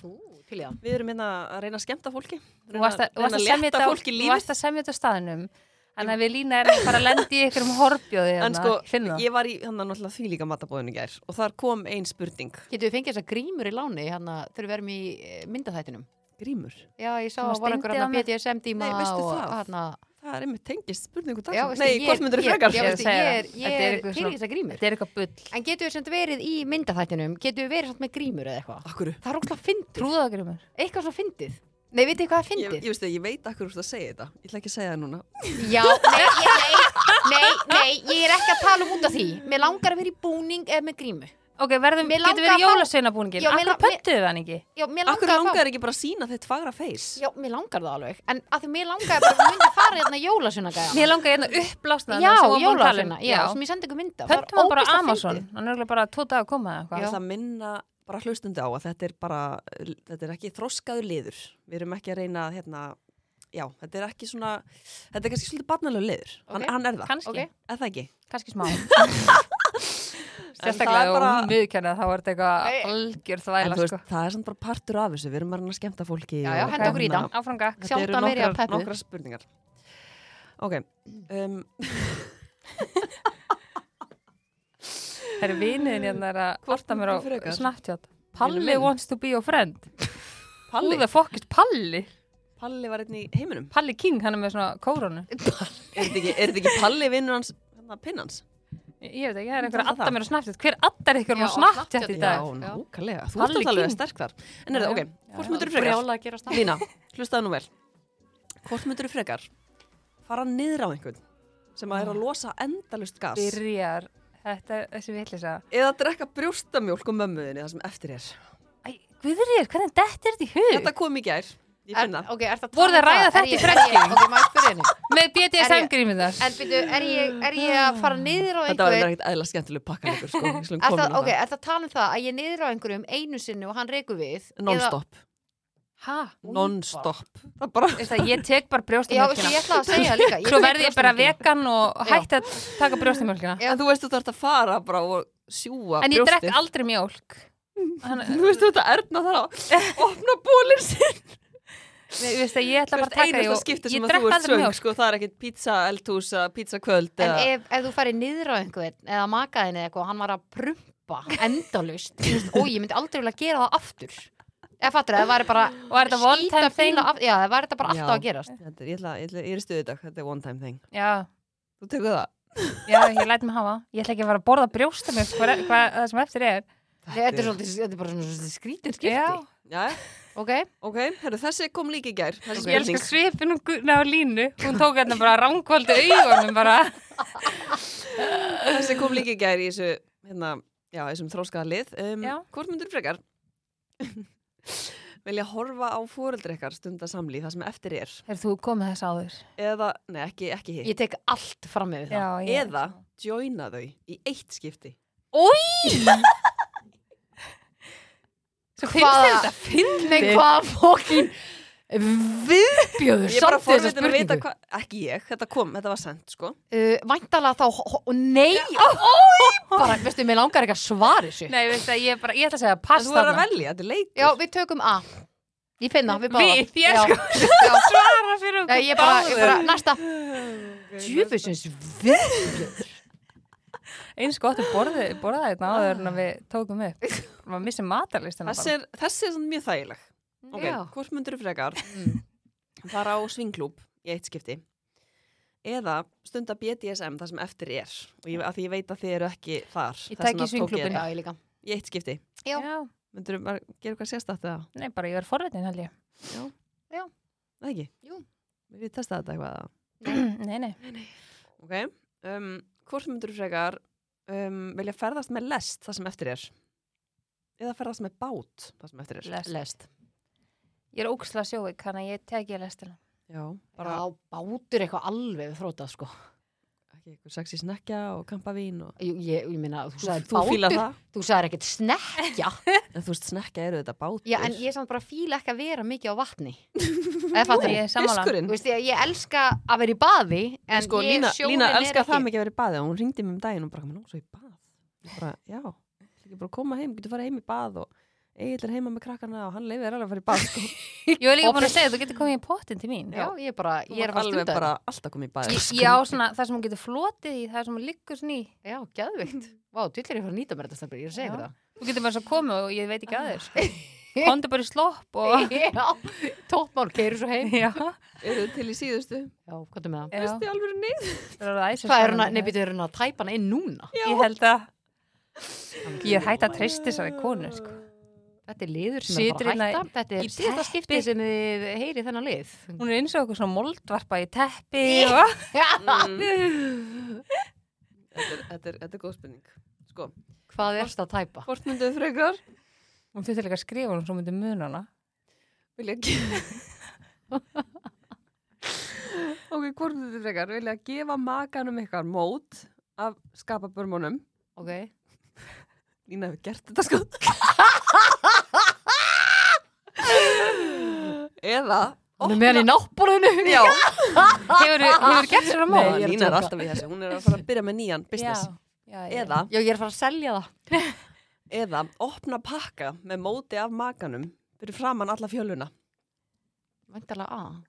til í það Við erum hérna að reyna að skemmta fólki. Þú varst að, þú varst að semja þetta á- þú varst að semja þetta á staðinum Þannig að við lína erum bara að lendi í ykkur um horfjóði Hérna, En sko, finn það ég var í hann náttúrulega því líka matabóðinu gær og þar kom ein spurning. Getur við fengið þess að grímur í láni hérna þegar við erum í eh, myndaþættinum? Grímur? Já, ég sá Sem að að voru einhver steindi hérna á mig. BDSM díma Nei, veistu og það? hérna Það er einmitt tengist spurningu dag. Já, veistu, Nei, ég- hvort myndur ég- frekar? já, Ég er að veistu, segja, ég er- ég þetta er er eitthvað til í svona- þessar grímur. Þetta er eitthvað bull En getur við samt verið í myndaþættinum? Getur við verið samt með grímur eða eitthvað? Akkur, Það er óslega fyndið. Trúðu það grímur Eitthvað svona fyndið. Nei, veitu þið hvað það er ég, fyndið? ég, veistu, ég veit akkur úr það að segja þetta. Ég ætla ekki að segja það núna. Já, nei, ég, nei, nei, nei, ég er ekki að tala um út af því. Mér langar að vera í búning eða með grímu. Ok, verðum, Mig langar getur að verið fá- jólasveinabúningin Já, mig Akkur lang- mér- pöntuðu þann ekki Já, mér Akkur langar að fá. langar ekki bara að sína þitt fagra feys? Já, mér langar það alveg. En að því mér langar bara að myndi fara hérna jólasunagæða. Mér langar hérna uppblásna Já, jólasuna, um. já, sem ég sendi ykkur mynda. Pöntum hann bara á Amazon Hann er örugglega bara tvo dag að koma eða Ég eitthvað ætla að minna bara hlustundi á að þetta er bara, þetta er ekki þroskaður liður. Við erum ekki að reyna, að, hérna, já, þetta er ekki svona, þetta er kannski svolítið barnalegu liður. Hann, Ok. hann er það. Kanski, Ok. Er það ekki? *laughs* kannski smá það er Sérstaklega bara- og miðkennið þá er þetta Nei. eitthvað algjör en þvæla þú sko. veist, það er samt bara partur af þessu, við erum að reyna að skemmta fólki. Já, já, og henda okkur í hérna, þetta. Áfram gakk Þetta Sjaldan eru verið jafn nokkrar, peppuð. nokkrar spurningar. Ok, *clears throat* um, Það er viniðin hérna er að Hvort kvarta mér á myndir frekar? Snapchat. Vinur Palli minn? wants to be your friend. Who Palli, the fuck is Palli? Palli var einn í heiminum. Palli King, hann er með svona kóronu. Er þetta ekki, er þetta ekki Palli vinnur hans, hérna, pinnans? Ég ég veit ekki, það er einhver að Það er adda það. mér á Snapchat. Hver addar ykkur Já, á á Snapchat Snapchat, í Já, dag? nákvæmlega, þú Palli ert alveg King. sterk þar. En er Já, það, já. ok, hvort myndur þú frekar? Brjála að gera stað. Lína, hlustaðu nú vel Hvort myndur þú frekar fara niður á einhvern sem að er að losa endalust gas Byrjar, þetta er þessi vitlisa. eða drekka brjóstamjólk um mömmuðinni það sem eftir er Æ, Guðrýr, hvernig dettir þetta í hug? Þetta kom í gær, ég Er, finna ok, er það Voruð þið að ræða þetta í fréttum? Ok, maður spyrir henni. Með Er BDSM ég- grímið þar. En byrju, er ég, er ég að fara niður á Þetta var einhver? eitthvað ekkert eðla skemmtileg pakkanleikur sko. Ég slum Er koma það, inn á ok, er það að tala um það að ég er niður á einhverjum einu sinni og hann reykur við? það Non-stop, Hæ? non-stop Það bara, Ég tek bara Eða- Já, veistu, ég brjóstamjölkina. ætla að segja það líka. Ég Svo tek verði ég bara brjóstamjólkina. vegan og Já. hægt að taka brjóstamjölkina. Já. en þú veist þú þarft að fara bara og sjúa En ég drekk brjóstið. aldrei mjólk. hann, Þú *laughs* veist þú þetta erna þar að opna bólinn sinn ég veist að ég ætla bara að taka því einasta og skipti ég sem að drekk þú ert aldrei svöng mjólk sko, það er ekkit pizza eldhús eða pizza kvöld En eða ef, ef þú farið niður á einhvern eða makaðin eða eitthvað, hann var að prumpa endalust, og ég myndi aldrei vilja gera það aftur eða fattur, það væri bara og er þetta one time thing af, já, það væri þetta bara alltaf Já. að gerast Þetta er- Ég, ætla, ég, ætla, ég er í stuði í dag, þetta er one time thing já, Þú tekur það já, ég læt mig hafa ég ætla ekki að fara að borða brjósta mjólk hvað hva, sko, það sem eftir er þetta er, svolítið, þetta er bara svona svolítið skrítin skipti já, Já, ok, ok, herru, þessi kom líka í gær Þessi ég elskar svipin og guna á línu hún tók hérna bara ránkvöldu augunum bara þessi kom líka í gær í þessu hérna, já, þessum þróskaða lið um, Já. hvort myndur frekar *laughs* vilja horfa á fóreldri ykkar stunda samlíf það sem eftir er er þú komið þess áður eða, nei ekki, ekki hitt ég tek allt fram yfir það já, eða joina þau í eitt skipti svo finnst þér Hvaða- þetta finn Nei, hvað fókin viðbjöður ég er bara samt þessa forvitin um að vita spurningu. hvað, ekki ég, þetta kom, þetta var sendt sko uh, væntalega þá, ho- ho- nei bara, veistu, mér langar ekki að svara þessu nei, veist að ég, bara, ég ætla að segja en pass þú er að þarna. velja, þetta er leikur já, við tökum A ég finna, við báða Við, ég sko. Já. svara fyrir okkur Nei, ég bara, ég bara, báðum. næsta Djöfusins við eins gott að borða, borða það hérna áður en að við tókum *laughs* upp maður missir matarlistina þessi er, þessi er svona mjög þægileg ok, Já. hvort myndur frekar Mm. *laughs* fara á svingklúb í eitt skipti eða stunda BDSM það sem eftir er og ég, að því ég veit að þið eru ekki þar Ég þess tæki vegna tók ég swingklúbbinn. Já, þetta. ég líka í eitt skipti Já. já, myndur þú gera eitthvað sérstætt eða nei bara ég er forvitin held ég Nei, ekki? Jú. Við testa þetta eitthvað eða? *clears throat* nei, nei, ok, um, hvort myndur þú frekar um, vilja ferðast með lest það sem eftir er eða ferðast með bát það sem eftir er lest Lest ég er óksla sjóik, hann að ég teki *laughs* lestina já, bara Bara á bátur eitthvað alveg við þrótað sko ekki eitthvað sexy snekja og kampavín og Ég, ég, ég meina, þú Þú, sagði þú fíla bátur það, Þú sagði ekkert snekkja en þú veist snekja eru þetta bátur *laughs* Já, en ég samt bara fíla ekki að vera mikið á vatni Eða fattur ég ég er sammála Þú veist, ég, ég elska að vera í baði En Mm. sko, ég Lína, sjónin Lína er elskar ekki það mikið að vera í baði og hún ringdi mér um daginn og bara, nú, svo í bað ég bara, já, ég bara að koma heim getur farið heim í bað og Egil er heima með krakkana og hann leifir alveg að fara í bað sko. ég var líka búin að segja, þú getur komið í pottin til mín Já, ég er bara, *laughs* ég er að fara alveg stundar bara alltaf komið í bað sko. Ég- ég á svona, það sem hún getur flotið í það sem hún liggur svona í Já, geðvikt Vá, dvillir ég að fara að nýta mér þetta stafnir, ég er að segja Já. ykkur það þú getur bara svo komið og ég veit ekki að þér *laughs* sko. komdu bara í slopp og Já, tóttmál, keiru svo *laughs* heim já, eru til í síðustu Já, hvað er með það? já. Veistu alveg neyð? Það var æsa Hvað er hún spennandi. að, nefnir, er hún að tæpa hana inn núna? ég held að ég er hægt að treysti þessari konu sko. Þetta er liður sem er Situr bara að hérna hætta. Þetta er í síðasta teppi. skipti sem þið heyrið þennan lið. hún er eins og okkur svona moldvarpa í teppi og... þetta, er, þetta, er, þetta er góð spurning sko, Hvað er þetta að tæpa? hvort mynduðu frekar hún þurfti líka að skrifa hún svo myndi muna hana vilja gefa *laughs* ok, hvort mynduðu frekar vilja gefa makanum ykkar mót af skapabörmunum Ok. Lína hefur gert þetta *laughs* sko eða Hún er með hann í náttbólinu. Já, hefur, hefur gert svona mót Nei, ég er að Lína er djóka. alltaf í þessu, hún er að fara að byrja með nýjan business já, já, eða, Já, ég er að fara að selja það. eða opna pakka með móti af makanum fyrir framann alla fjöluna Væntalega að.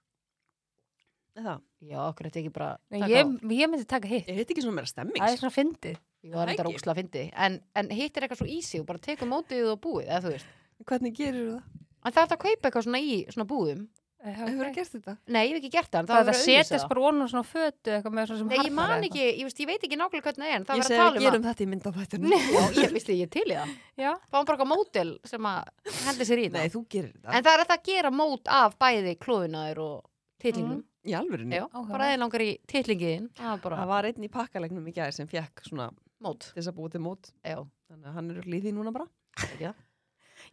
eða, Já, okkur þetta ekki bara... Nei, taka á. ég, ég myndi taka hitt er þetta ekki svona meira stemming? það er svona fyndið Jú, það er þetta Ekki. róksla að fyndi. En, en hitt er eitthvað svo easy og bara tekur mótið og búið, eða þú veist. Hvernig gerir það? En það er þetta að kaupa eitthvað svona í svona búðum. Hefur það gert þetta? Nei, ég hef ekki gert það, en það það, hefur það verið að auglýsa setjast það. bara um onur svona fötu eitthvað með svona sem Nei, ég harðar man eða ekki, ég, veist, ég veit ekki nákvæmlega hvernig það er, en það Ég var segi að að tala um gerum þetta í myndafættinu að... *laughs* Já, ég veist ég til í það. eitthvað. já, Það var bara eitthvað mótil sem að hendi sér í það. Nei, þú gerir þetta En það er hægt að gera mót af bæði klóðunar og titlingnum. Í alvörinu Já, áhugavert. bara eða langar í titlingiðin. Það er bara Það var einn í pakkalegnum í gæði sem fekk svona mót. til þess að búa til mót Já, Þannig að hann er líðið núna bara ekki það?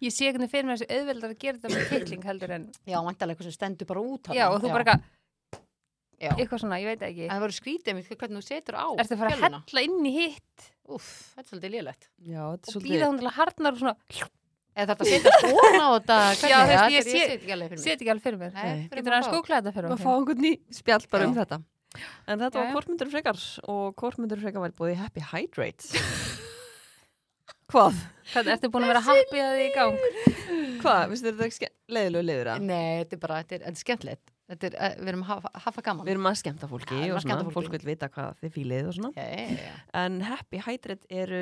ég sé hvernig fyrir mér þessu auðveldar að gera þetta með titling heldur en Já, vantarlega eitthvað sem stendur bara út. þarna. já, og þú bara eitthvað, Já. Já. eitthvað svona, ég veit ekki En það voru skrítið mér hvernig þú setur á ertu að fara að fjöluna. hella inn í hitt Úff, þetta er svolítið lélegt. Já, þetta er og býða hún til að harnar og svona Eða þarf þetta að setja svona á *laughs* þetta? Já, Hvernig? þú veist, þetta ég er- sé ekki alveg fyrir sé- setja mig. ekki alveg fyrir mér Nei, fyrir getur hann maður að fá. skóklað þetta fyrir að fá okkur einhvern ný spjall bara um Já. þetta En þetta var Jæja. hvort *laughs* myndur frekar og hvort myndur frekar var búið í Happy Hydrate Hvað? Hvernig ertu búin að vera happy að því í gang? Hvað, finnst þér þetta ekki leiðilegu liður að? Nei, þetta er bara, þetta er, þetta er skemmtilegt Þetta er, eh, við erum að hafa, hafa gaman Við erum að skemmta fólki Já, við erum og að svona, skemmta fólki. fólk vil vita hvað þið fílið og svona. Já, já, já, já. En happy hydrate eru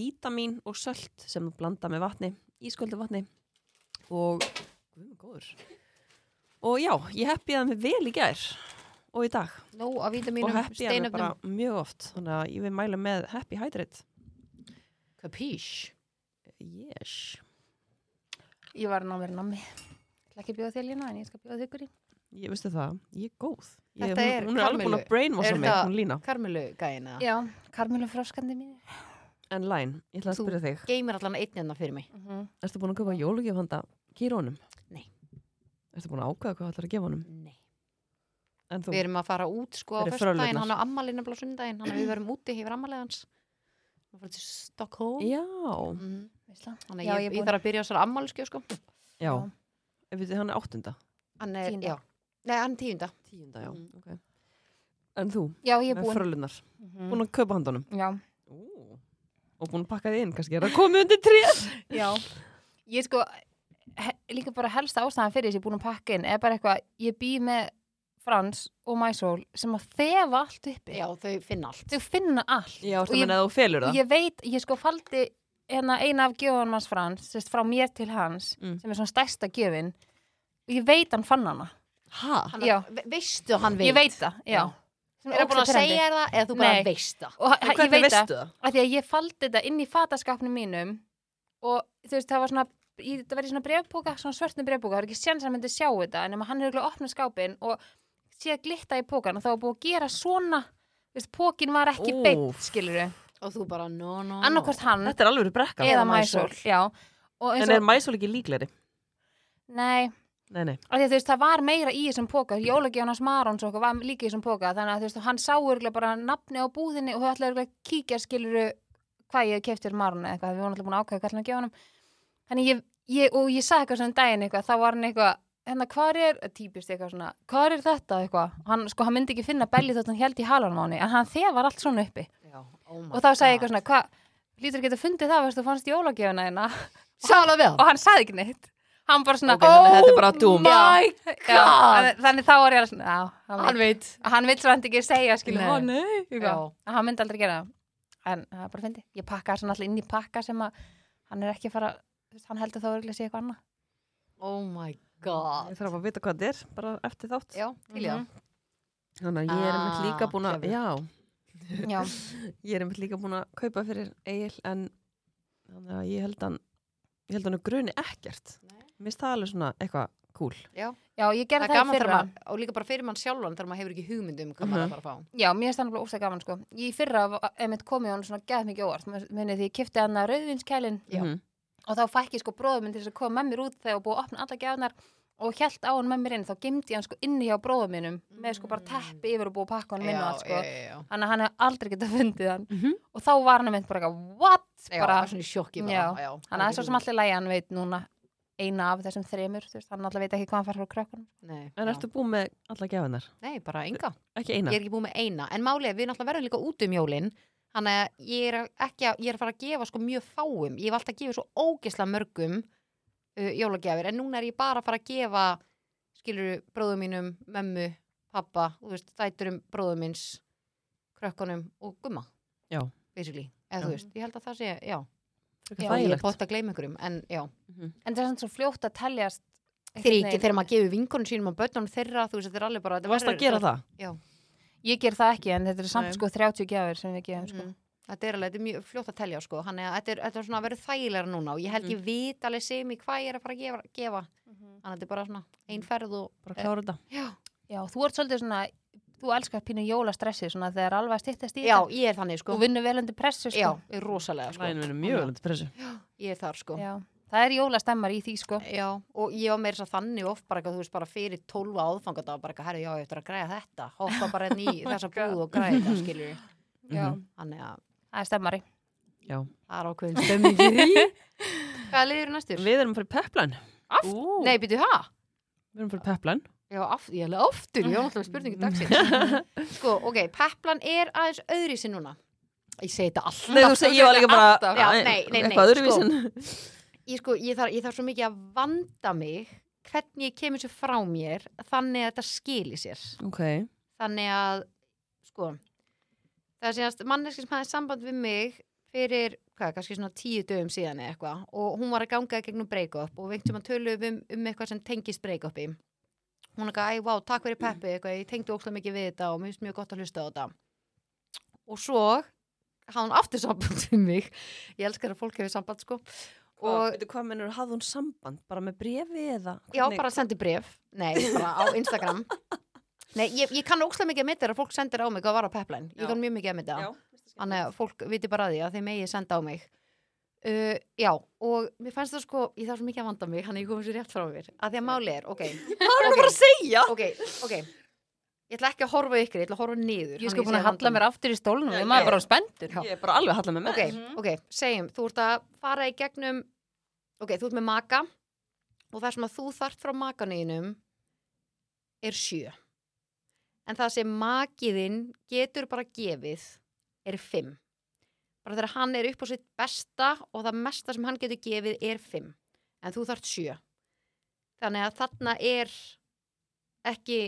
vítamin og sölt sem þú blanda með vatni, ísköldu vatni og Guð minn góður. Og já, ég happyaði mig vel í gær og í dag Nó að víta og mínum happyaði mig bara steinöfnum mjög oft. Þannig að ég vil mæla með happy hydrate. Capiche Yes. Ég var námið námi. Ég ætla ekki að bjóða þér lína en ég skal bjóða þig í. Ég veistu það, ég er góð. Ég, Þetta er hún, hún er alveg búin Karmelu. að brainwasha Er mig, þetta- hún lína. Karmelu gæina Já, Karmelu froskandi mín. En læn, ég ætla að Þú- spyrja þig. Geymir allan einn enna fyrir mig Erstu búin að köpa jólugjöfanda kýrónum? Nei. Erstu búin að ákveða hvað ætlar að gefa honum? Nei En þú? Við erum að fara út sko á Þetta er fyrstdægin, frölurnar. hann á ammalinu blá sundaginn, hann við verum úti hefur ammalið hans. Hann fyrir til Stockholm. Já. Mm. Veistla. Þannig Já, að ég ég, er ég, búin. þarf að byrja á þessar ammaliskjö sko. Já, ef við hann er áttunda Hann er, Tíunda. já. Nei, hann er tíunda. Tíunda, já. okay. En þú, Já, Mm, ég er með búin. frölunar Mhm. Búin að kaupa handunum Já, Og búin að pakka þið inn, kannski er það komið undir tréð já. Ég sko, he, líka bara helsta ástæðan fyrir þess ég er búin að pakka inn er bara eitthvað, ég bý með Frans og Mæsól sem að þefa allt uppi. Já, þau finna allt. Þau finna allt. Já, Og ertu að ég- minna að þú felur það ég veit, ég sko faldi hérna eina af gjöfunum hans Frans sérst, frá mér til hans, Mm. sem er svona stærsta gjöfin og ég veit hann fann hana Hæ? Hann, Já. ve- Veistu að hann veit? ég veit það, já, Já. Sem Er það búin að ógeðslega segja pirrandi. þér það eða þú bara Nei. veist það? og, og ég Hvernig veit það, veistu það? af því að ég faldi þetta inn í fataskapnum mínum og þú veist, það var svona í- þetta var í svona brefbóka, svona svörtum brefbóka það var ekki séns að hann myndi sjá þetta, en ef hann er örugglega að opna skápin og sé að glitta í pókan og þá var búið að gera svona þú veist, pókin var ekki Úff. Ah. beitt, skilur við Og þú bara, no, no, no. annarkvort hann Þetta er alveg brekka Mm. eða Eða mæsól, Maísól. já Og eins En og- er mæsól ekki líklegri? Nei, Nei, nei af því að þú veist, það var meira í þessum póka Jólagjónas Marons og okkur var líka í þessum póka þannig að þú veist, hann sá örgulega bara nafni á búðinni og þau ætlaði örgulega að kíkja skiluru hvað ég kefti fyrir Maronu eða eitthvað, við vorum alltaf búin að ákveða hvað ætlaði að gefa honum þannig ég, ég og ég sagði eitthvað svona um daginn eitthvað, þá var hann eitthvað hérna, hvað er, típist eitthvað svona hvað er þetta eitthvað, hann, sko, hann myndi ekki finna belli þótt hann held í halanum á henni, en hann þegar allt svona uppi Já, oh my og þá sagði ég God. eitthvað svona, hvað, lítur ekki að fundið það, veist, þú fannst jólagjöfuna hérna Sála vel. og hann sagði ekki neitt hann bara svona, Ok, "Oh þannig þetta er bara dúm. my God. þannig, þannig þá var ég alveg svona, já, hann, Hann hann, veit. hann vill svona ekki segja skilu, Nei. ó nei, eitthvað. Já. En hann myndi aldrei gera það en það er bara fyndi, ég pakka svona alltaf inn í pakka sem að hann er ekki að fara þú veist, hann heldur þá örgulega að sé eitthvað annað Oh my Ég Ah. god. þarf að vita hvað þetta er, bara eftir þátt Já, til já. Mhm. Þannig að ég er Ah, einmitt líka búin að gefur. Já, Mhm. já, ég er einmitt líka búin að kaupa fyrir Egil En þannig að ég held hann Ég held hann gruni ekkert Nei. Mér finnst það alveg svona eitthvað cool já, ég Það gerði er það, gaman í þegar fyrra maður, og líka bara fyrir mann sjálfan þegar maður hefur ekki hugmyndum hvað Mhm. maður er að fara að fá. já, mér finnst það alveg óslega gaman sko í fyrra, var- einmitt komið hann svona gæð mikið óvart minni því ég kipti hann að rauðvinskælin Já. Mhm. og þá fækki sko bróður minn til þess að koma með mér út þegar búið að opna alla gæðunar og held á hann með mér inn, þá gemdi ég hann sko inni hjá bróður minnum með sko bara teppi yfir og búið að pakka hann minn og allt sko Já, já, já. þannig að hann hefði aldrei getað fundið hann Mhm. og þá var hann meint bara eitthvað what? Já, bara, bara svona í sjokki bara. Já. já. þannig að það er svo sem allir lægi hann veit núna eina af þessum þremur þú veist, hann alltaf veit ekki hvað hann fær frá krökkunum Nei, En já. ertu búin með alla gefinnar? Nei, bara enga. Ekki eina? Ég er ekki búin með eina. En málið, er, við náttúrulega verðum líka út um jólin. Þannig að ég er ekki að, ég er að fara að gefa sko mjög fáum. Ég hef alltaf að gefa svo ógeðslega mörgum uh, jólagjafir. En núna er ég bara að fara að gefa, skilur, bróðum mínum, mömmu, pappa, þú veist, þætturum bróðum míns, krökkunum og gumma. Já. Basically. Eða þú Já. veist, ég held að það sé, já. Frekar já ég er þægilegt. bótt að gleyma ykkurum, en já. en það er svona svo fljótt að teljast Þeir einhvern ekki, veginn. þegar maður gefur vinkonum sínum og börnunum þeirra, þú veist, þetta er alveg bara... þetta Þú varst að verður- gera það? ég ger það ekki en þetta er samt Nei. sko 30 gjafir sem við gefum sko. Mm. Þetta er alveg, þetta er mjög fljótt að telja sko Þannig að þetta er, þetta er svona að vera þægilega núna og ég held ég vit alveg sem í hvað ég er að fara að gefa, gefa. þannig að þetta er bara svona ein ferð og eh, Bara að klára þetta? já, já, þú ert svolítið svona þú elskar pínu jólastressi svona þegar alveg að stýttast í já, þetta ég er þannig sko þú vinnur vel undir pressu Já, sko. er rosalega sko Lænin er mjög Þannig öllandi pressu. að Ég er þar sko Já, Já. það er jólastemmar í því sko og ég var meira þess að þannig oft bara eitthvað, þú veist, bara fyrir 12 aðfangadag bara eitthvað, herri, já, ég ætla að græða þetta hoppa bara *laughs* enn í þessa búð og græða þetta, skilur *laughs* já, Mhm. Þannig að það er stemmari Já. það er *laughs* ákveðin stömming í því Hvað liður næstur? Við erum fyrir peplan. Aft? Ú. Nei, byrju, hæ? Við erum fyrir peplan. Já, aft, ég hefði *laughs* aftur, ég var náttúrulega spurningu dagsins. sko, ok, peplan er aðeins öðri sinni núna. Ég segi þetta alltaf Nei, þú segir, ég var líka bara Alltaf. Já, nei, nei, nei, Eitthvað sko. öðruvísin ég, sko, ég, þarf, ég þarf svo mikið að vanda mig hvernig ég kemur sér frá mér þannig að þetta skili sér Ok, þannig að sko, það er síðast manneski sem hafði samband við mig fyrir hvað, kannski svona tíu dögum síðan eða eitthvað og hún var að ganga í gegnum break-up og veintum að töluðum um, um eitthvað sem tengist break-upi hún er eitthvað, æ, vá, takk fyrir peppi eitthvað, ég tengdi óslega mikið við þetta og mér finnst mjög gott að hlusta á þetta og svo hafði hún aftur samband *laughs* við mig ég elskar að fólk hefur samband sko og veitu hvað mennur, hafði hún samband bara með brefi eða? Já, bara sendi bref, nei, *laughs* bara á Instagram Nei, ég, ég kann ókslega mikið að mynda þegar fólk sendir á mig hvað var á pepline Ég Já. kann mjög mikið að mynda Já, Þannig að fólk viti bara að því að þeim megi senda á mig uh, Já, og mér fannst það sko, ég þarf svo mikið að vanda mig Þannig að ég komið sér rétt frá mér Að því að máli er, *laughs* ok Hvað er hún bara að segja? Ok, ok Ég ætla ekki að horfa á ykkur, ég ætla að horfa niður Ég sko búin að halla mér aftur í stólunum og maður já. bara spendur. Já. Ég er bara alveg að halla með með Ok, ok, segjum, þú ert að fara í gegnum Ok, þú ert með maka og það sem að þú þart frá makanuðinum er sjö en það sem makiðinn getur bara gefið er fimm bara þegar hann er upp á sitt besta og það mesta sem hann getur gefið er fimm en þú þart sjö þannig að þarna er ekki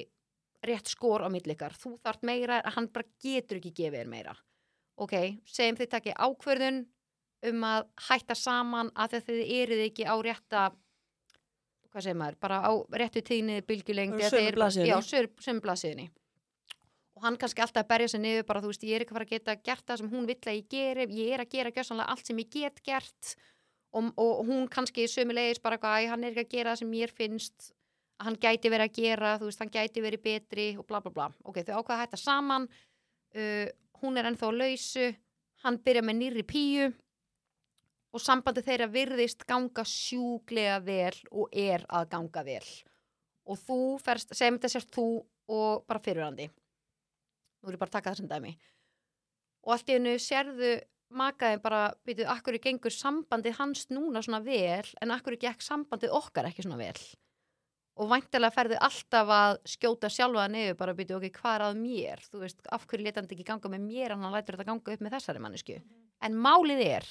rétt skor á millikar þú þart meira, hann bara getur ekki gefið er meira ok, segjum þið takki ákverðun um að hætta saman að því að þið eruð ekki á rétta hvað segir maður, bara á réttu tíðni bylgjulengdi Á að þið sömu eruð- blaðsíðunni. já, sör- sömu blaðsíðunni og hann kannski alltaf að berja sig niður bara, þú veist, ég er ekki að fara að geta gert það sem hún vill að ég geri, ég er að gera gjössanlega allt sem ég get gert og, og hún kannski sömulegis bara hvað, hann er ekki að gera það sem mér finnst að hann gæti verið að gera, þú veist, hann gæti verið betri og bla bla bla. Ok, þau ákvaða hætta saman, uh, hún er ennþá á lausu, hann byrja með nýri píu og sambandi þeirra virðist ganga sjúglega vel og er að ganga vel. Og þú ferst, segjum þetta sérst þú og bara fyrirandi. Nú er ég bara að taka það sem dæmi. Og allt í hennu sérðu makaði bara, býtu, akkur gengur sambandið hans núna svona vel en akkur gekk sambandið okkar ekki svona vel og væntalega ferðu alltaf að skjóta sjálfa það neyðu bara að byrja okkur hvað er að mér þú veist, af hverju leta hann þetta ekki ganga með mér en hann lætur þetta ganga upp með þessari mannesku en málið er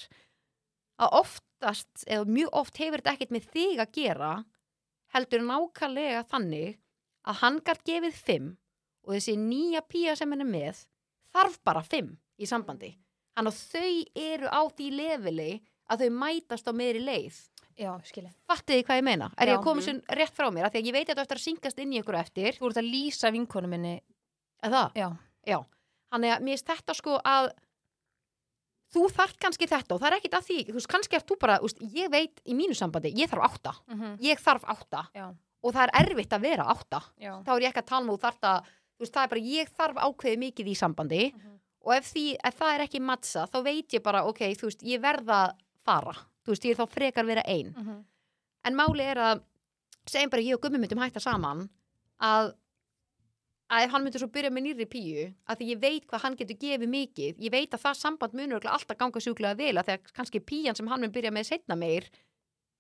að oftast, eða mjög oft hefur þetta ekkert með þig að gera heldur nákvæmlega þannig að hann gætt gefið fimm og þessi nýja pía sem hann er með þarf bara fimm í sambandi hann og þau eru á því leveli að þau mætast á meðri leið Já, skilja. Fattiði hvað ég meina? Er ég Já. að koma sér rétt frá mér? Af því að ég veit að þetta eftir að syngast inn í ykkur á eftir. Þú ert að lýsa vinkonu minni. Er það? Já. Já. Þannig að mér finnst þetta sko að þú þarft kannski þetta og það er ekkit að því. Þú veist, kannski ert þú bara, þú veist, ég veit í mínu sambandi, ég þarf átta. Mhm. Mm. Ég þarf átta Já, og það er erfitt að vera átta. já. Þá er ég ekki að tala um þú þarft að, þú veist, það er bara ég þarf ákveðið mikið í sambandi Mhm. og ef, því, ef það er ekki matsa þá veit ég bara, ok, þú veist, ég verða fara. Þú veist, ég er þá frekar að vera ein. Mhm. en máli er að segjum bara ég og gummi myndum hætta saman að, að ef hann myndi svo byrja með nýri píu að því ég veit hvað hann getur gefið mikið ég veit að það samband munur örugglega alltaf ganga sjúklega vel að þegar kannski píjan sem hann mun byrja með setna meir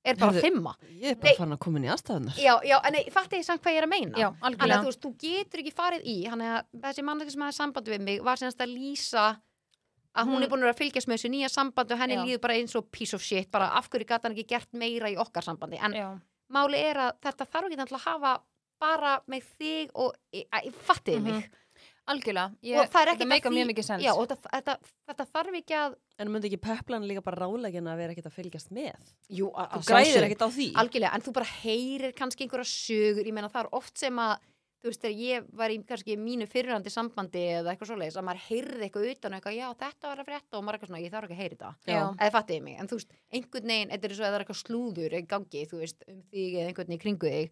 er bara Heyrðu- fimma Ég er Nei. bara farin að koma inn í aðstæðunar já, já, en nei, fatt ég samt hvað ég er að meina Já, Þannig að algjörlega. þú veist, þú getur ekki farið í Þannig að þessi mannlega sem hafði sambandi við mig var senast að lýsa að hún Hún- er búin að vera að fylgjast með þessu nýja sambandi og henni Mm. Já. líður bara eins og piece of shit bara af hverju gæti hann ekki gert meira í okkar sambandi en Já. máli er að þetta þarf ekki að hafa bara með þig og e, ég, ég fatti þig mig Algjörlega. Mhm. Ég, og það er þetta ekki meikar mjög mikið sens. já, og þetta, þetta, þetta þarf ekki að En myndi ekki peplan líka bara rálegin að vera ekkert að fylgjast með? jú, að, Þú græðir ekkert á því algjörlega, en þú bara heyrir kannski einhverja sögur, ég meina það er oft sem að þú veist, þegar ég var í kannski mínu fyrrandi sambandi eða eitthvað svoleiðis að maður heyrði eitthvað utan og eitthvað, já þetta var að frétta og maður eitthvað svona, ég þarf ekki að heyri þetta Já. eða fattiði mig, en þú veist, einhvern veginn þetta er svo að það er eitthvað slúður í gangi, þú veist um þig eða einhvern veginn í kringu þig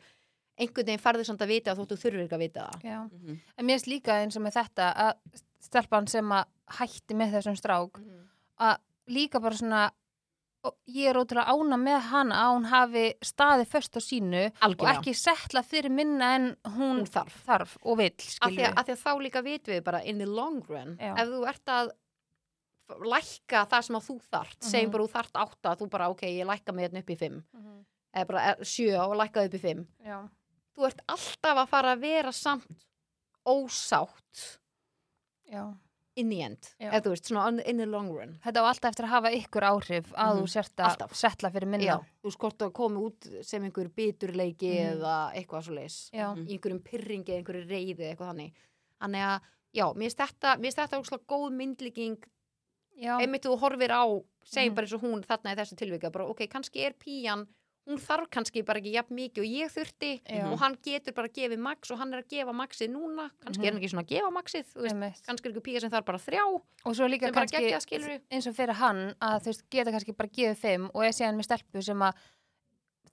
einhvern veginn farði samt að vita að þú þurfur ekki að vita það Já. Mhm. En mér finnst líka eins og með þetta að stelpan sem að hætti með þessum strák að líka bara svona og ég er ótrúlega ána með hana að hún hafi staðið föst á sínu og algjörlega, ekki settla fyrir minna en hún, Hún þarf. og vill af því, skilur að, af því að þá líka vitum við bara in the long run, Já. ef þú ert að f- lækka það sem að þú þart segjum Mhm. bara þú þart átta, þú bara ok ég lækka mig hérna upp í fimm Mhm. eða bara er, sjö og lækka upp í fimm Já. þú ert alltaf að fara að vera samt ósátt Já. in the end Já. eða þú veist, svona on- in the long run Þetta á alltaf eftir að hafa ykkur áhrif að Mhm. þú sért að Alltaf. setla fyrir minna. Já, þú skort að koma út sem einhver biturleiki eða eitthvað svo leis Mhm. Já. í einhverjum pyrringi, eða einhverju reyði eitthvað þannig þannig að, já, mér finnst þetta mér finnst þetta ókslega góð myndlíking Já. einmitt þú horfir á, segjum Mhm. bara eins og hún þarna í þessu tilvika, bara ok, kannski er píjan hún þarf kannski bara ekki jafn mikið og ég þurfti Já. og hann getur bara að gefa max og hann er að gefa maxið núna kannski er hann ekki svona að gefa maxið þú veist, Mhm. Einmitt. kannski er einhver píja sem þarf bara þrjá og svo líka sem bara kannski geggjað, skilurðu. eins og fyrir hann að þú veist geta kannski bara gefið fimm og er síðan með stelpu sem að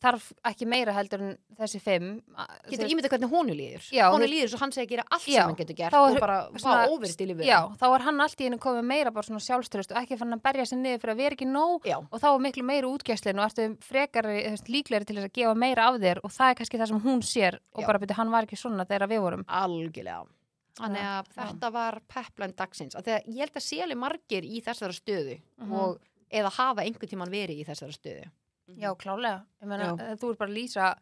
þarf ekki meira heldur en þessi fimm að- þú getur veist, ímyndað hvernig honu líður Já, honu þú- líður svo hann segir að gera allt Já, sem hann getur gert þá er og bara svona- vá óverist í lífið já, þá er hann allt í henni komið meira bara svona sjálfstyrust og ekki fann að berja sér niður fyrir að vera ekki nóg Já. og þá er miklu meira útgæslin og ertu frekari þú veist, líklegri til þess að gefa meira af þér og það er kannski það sem hún sér og Já. bara byrja hann var ekki svona þegar við vorum algjörlega þannig að Já. þetta var peplan dagsins að þegar ég held að séli margir í þessara stöðu Mhm. og eða hafa einhvern tíman verið í þessara stöðu Mhm. já, klálega, ég meina Já. eh, þú er bara að lýsa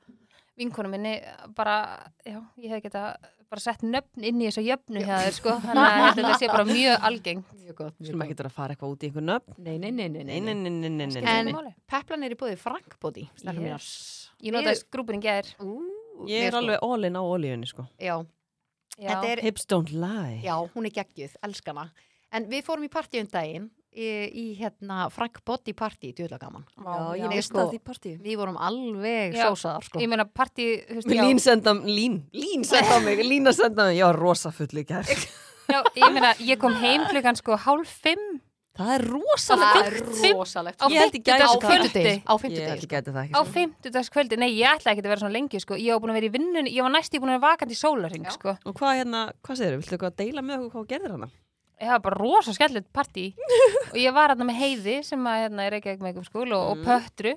vinkonu minni bara, já, ég hef geta bara sett nöfn inn í þessu jöfnu hjá þér sko, þannig að ég held að þetta sé bara mjög algengt mjög gott, Skulum ekki þetta að fara eitthvað út í einhver nöfn. nei, nei, nei, nei, Nei, nei, nei, nei, nei, nei. En- Skiptir máli. peplan er í bóði frankbóti Yes. yes. ég nota skrúpurinn gæðir Ég er alveg all in á olíunni, sko. já, sko. þetta er Hips don't lie. Já, hún er geggjuð, elskana. En við fórum í partíum daginn í, í hérna Frank Botti partí, djúðla gaman. Já, Ég ég veist sko- það því partíu. Við vorum alveg Já. sósaðar sko. ég meina partí þú veist, já, Lín senda, lín, lín senda á mig, lín að senda á mig, ég var rosa full í gær. já, ég meina ég kom heim klukkan sko hálf fimm *laughs* Það er rosa Það full. er fimm- rosalegt. á Ég held ég gæti fimmtudags það. kvöldi á Ég fimmtudegi. held ég gæti það ekki. á sko. fimmtudags kvöldi, nei ég ætla ekki að vera svona lengi sko, ég var búin að vera í vinnunni ég var næst ég búin að vera vakandi í sólarhing Já. sko Og hvað hérna, hvað segir viltu eitthvað að deila með okkur hvað þú gerðir hana? ég var bara rosa skemmtilegt partí *laughs* og ég var hérna með Heiði sem að hérna er ekki ekki með skúl og, Mm. og Pöttru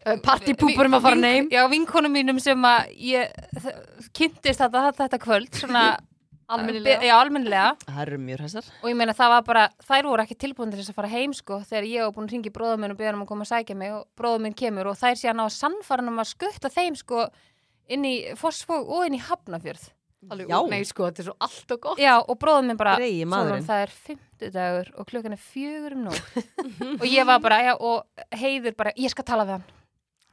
Sko. Partípúpurum að fara Vink- neim. Já, vinkonum mínum sem að ég þ- kynntist þetta, þetta kvöld svona *laughs* Almennilega. Já, almennilega Það eru mjög hæsar. og ég meina það var bara, þær voru ekki tilbúin til þess að fara heim sko þegar ég var búin að ringi bróðum minn og byrja hann um að koma að sækja mig og bróðum minn kemur og þær síðan á að sannfara um að skutta þeim sko inn í Fossfóg og inn í Hafnafjörð Alveg, Já. Nei sko, þetta er svo allt og gott. Já, og bróðum minn bara, Greyið Sólrún, maðurinn. það er fimmtudagur og klukkan er fjögur um nótt og ég var bara, já, og heiður bara, ég skal tala við hann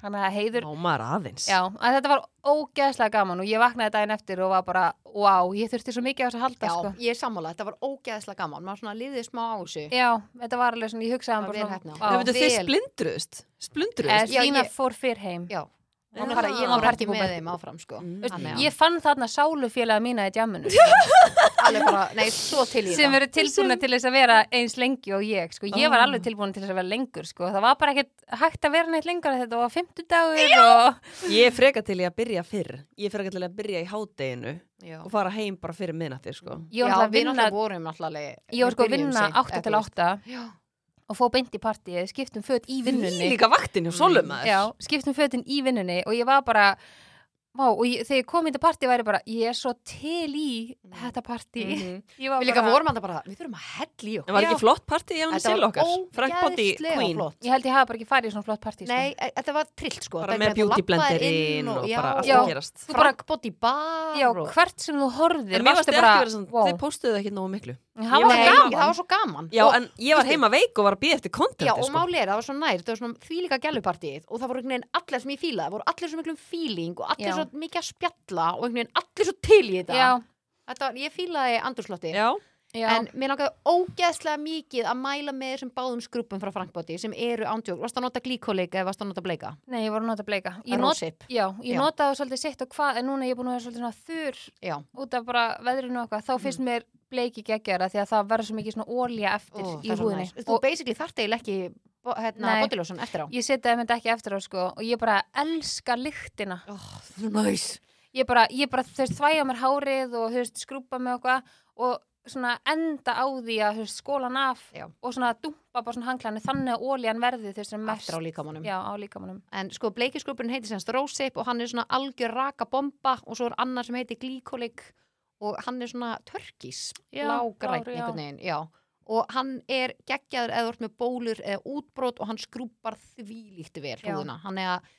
þannig að heiður, Námar aðeins. já, að þetta var ógeðslega gaman og ég vaknaði daginn eftir og var bara, wow, ég þurfti svo mikið á þess að halda, sko ég er sammála, þetta var ógeðslega gaman. Maður svona liðið smá á þessu. Já, þetta var alveg svona, ég hugsaði um Það var bara vel heppni á. Það veitu, þið vel. splundruðust, Eða splundruðust. Já, Stína ég- fór fyrr heim Já. Já. Þannig að ég Já. var ekki Partýpúpar. með þeim áfram sko. Mm. Þannig að Ég fann þarna sálufélaga mína í jamminu alveg bara, nei, svo til í sem eru tilbúna til þess að vera eins lengi og ég sko. ég Ah. var alveg tilbúna til þess að vera lengur sko. það var bara ekkert hægt að vera neitt lengur þetta var fimmtudagur og Ég er freka til í að byrja fyrr. Ég er freka til að byrja í hádeginu Já, og fara heim bara fyrir minnati, sko. Mm. Já, ég var náttúrulega við að vinna náttúrulega vorum náttúrulega ég var sko að byrjuðum vinna um seint, 8 til eða þú veist. 8 Já. og fó beint í partíið, skiptum föt í vinnunni Líka vaktin hjá Solum, maður. já, skiptum fötin í vinnunni og ég var bara Vá, og ég, þegar ég kom í þetta partí væri bara, ég er svo til í þetta partí Ég var Mm. Mhm. Við líka bara- vorum alltaf bara, við þurfum að hella í En okkur. Mhm. var ekki flott partí hjá hann Þetta síl var okkar? Frank Botti ógeðslega Queen. flott. Ég held ég hafa bara ekki farið í svona flott partí sko. Nei, e- þetta var trillt sko. Bara Þetta með er bara beauty labbaðir blenderinn og já, bara allt Já. að gerast. Þú bara- Frank Botti bar. Já, og- hvert sem þú horfðir En mér varst varstu ekki bara, verið svona, wow. þeir postuðu ekki nógu miklu. Það Ég var Nei, var gaman Það var svo gaman. Já, og, en ég var veistu- heima veik og var að býja eftir Já, kontenti, og sko. máli er, það var svo nær, það var svona því líka gælupartíð og það voru einhvern veginn allir sem ég fílaði, það voru allir svo miklum fíling og allir Já. svo mikið að spjalla og einhvern veginn allir svo til í þetta. Já, Þetta var, ég fílaði andurslótti. Já, já, En mér langaði ógeðslega mikið að mæla með þessum báðum skrúpum frá Frank Botti sem eru ándjók. Varst að nota glíkóleika eða varst að nota bleika? nei, ég voru að nota bleika Ég, Rósip. já, ég Já. notaði svolítið sitt og hvað en núna er ég búin að vera svolítið svona þurr Já. út af bara veðrinu og eitthvað Mm. þá finnst mér bleiki geggjara því að það verður svo mikið svona ólja eftir Ó, það í er svo húðinni næs. Þú og basically þart eiginlega ekki bo- hérna, Nei. bodylósun eftir á ég setja þeim þetta ekki eftir á sko og ég bara elska lyktina Næs ég bara, ég bara þú veist, þvæja mér hárið og þú veist, skrúpa mig og eitthvað og svona enda á því að þú veist, skólan af Já. og svona dumpa bara svona hanglæni þannig að óljan verði þú veist, sem mest Eftir á líkamannum Já, á líkamanum En sko bleikisgrúpurinn heitir semst Rósip og hann er svona algjör raka bomba og svo er annar sem heitir glíkolik og hann er svona törkis Já, blágræn blár, já. einhvern veginn Já Og hann er geggjaður eða þú ert með bólur eða útbrot og hann skrúpar þvílíkt vel Já. húðuna. Hann er að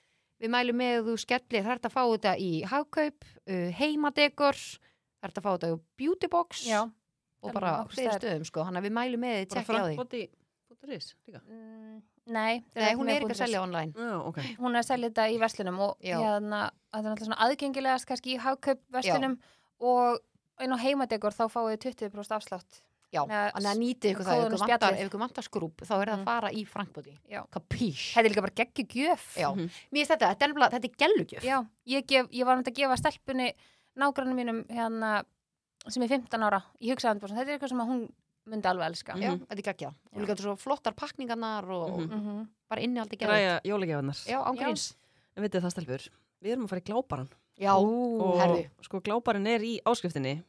við mælum með að þú skellir, það er að fá þetta í hagkaup, uh, heimadegur, það er að fá þetta í beautybox, Já, um og Alveg bara nokkurs fleiri staðar. stöðum sko, hann að við mælum með því Bara tjekkja á því framboði.is líka. Mm, Nei, Nei, hún er ekki að búin selja online Já, ok. hún er að selja þetta í verslunum og Já. hérna, þetta er náttúrulega svona aðgengilegast kannski í hagkaup verslunum og inn á heimadegur þá fáið þið 20% afslátt Já, Með þannig að nýti ykkur það, ef kóðunum ykkur vantar, spjallið. ef ykkur vantar skrúp þá er það að Mm. fara í Frankbóti Já. Kapís þetta er líka bara geggjugjöf Já, Mhm. mér finnst þetta, þetta er nefnilega, þetta er gellugjöf Já, ég, gef, ég var um að gefa stelpunni nágrannum mínum hérna sem er 15 ára, ég hugsaði hann bara svona, þetta er eitthvað sem að hún myndi alveg elska Já, Mhm. þetta er geggjað Já. og líka þetta svo flottar pakningarnar og Mhm. mm. Mhm. bara innihaldi geggjað Græja jólagjafinnar. Já, Já. ángríns En veitir það stelpur, við erum að fara í gláparan. Já, Og herðu sko gláparan er í áskriftinni,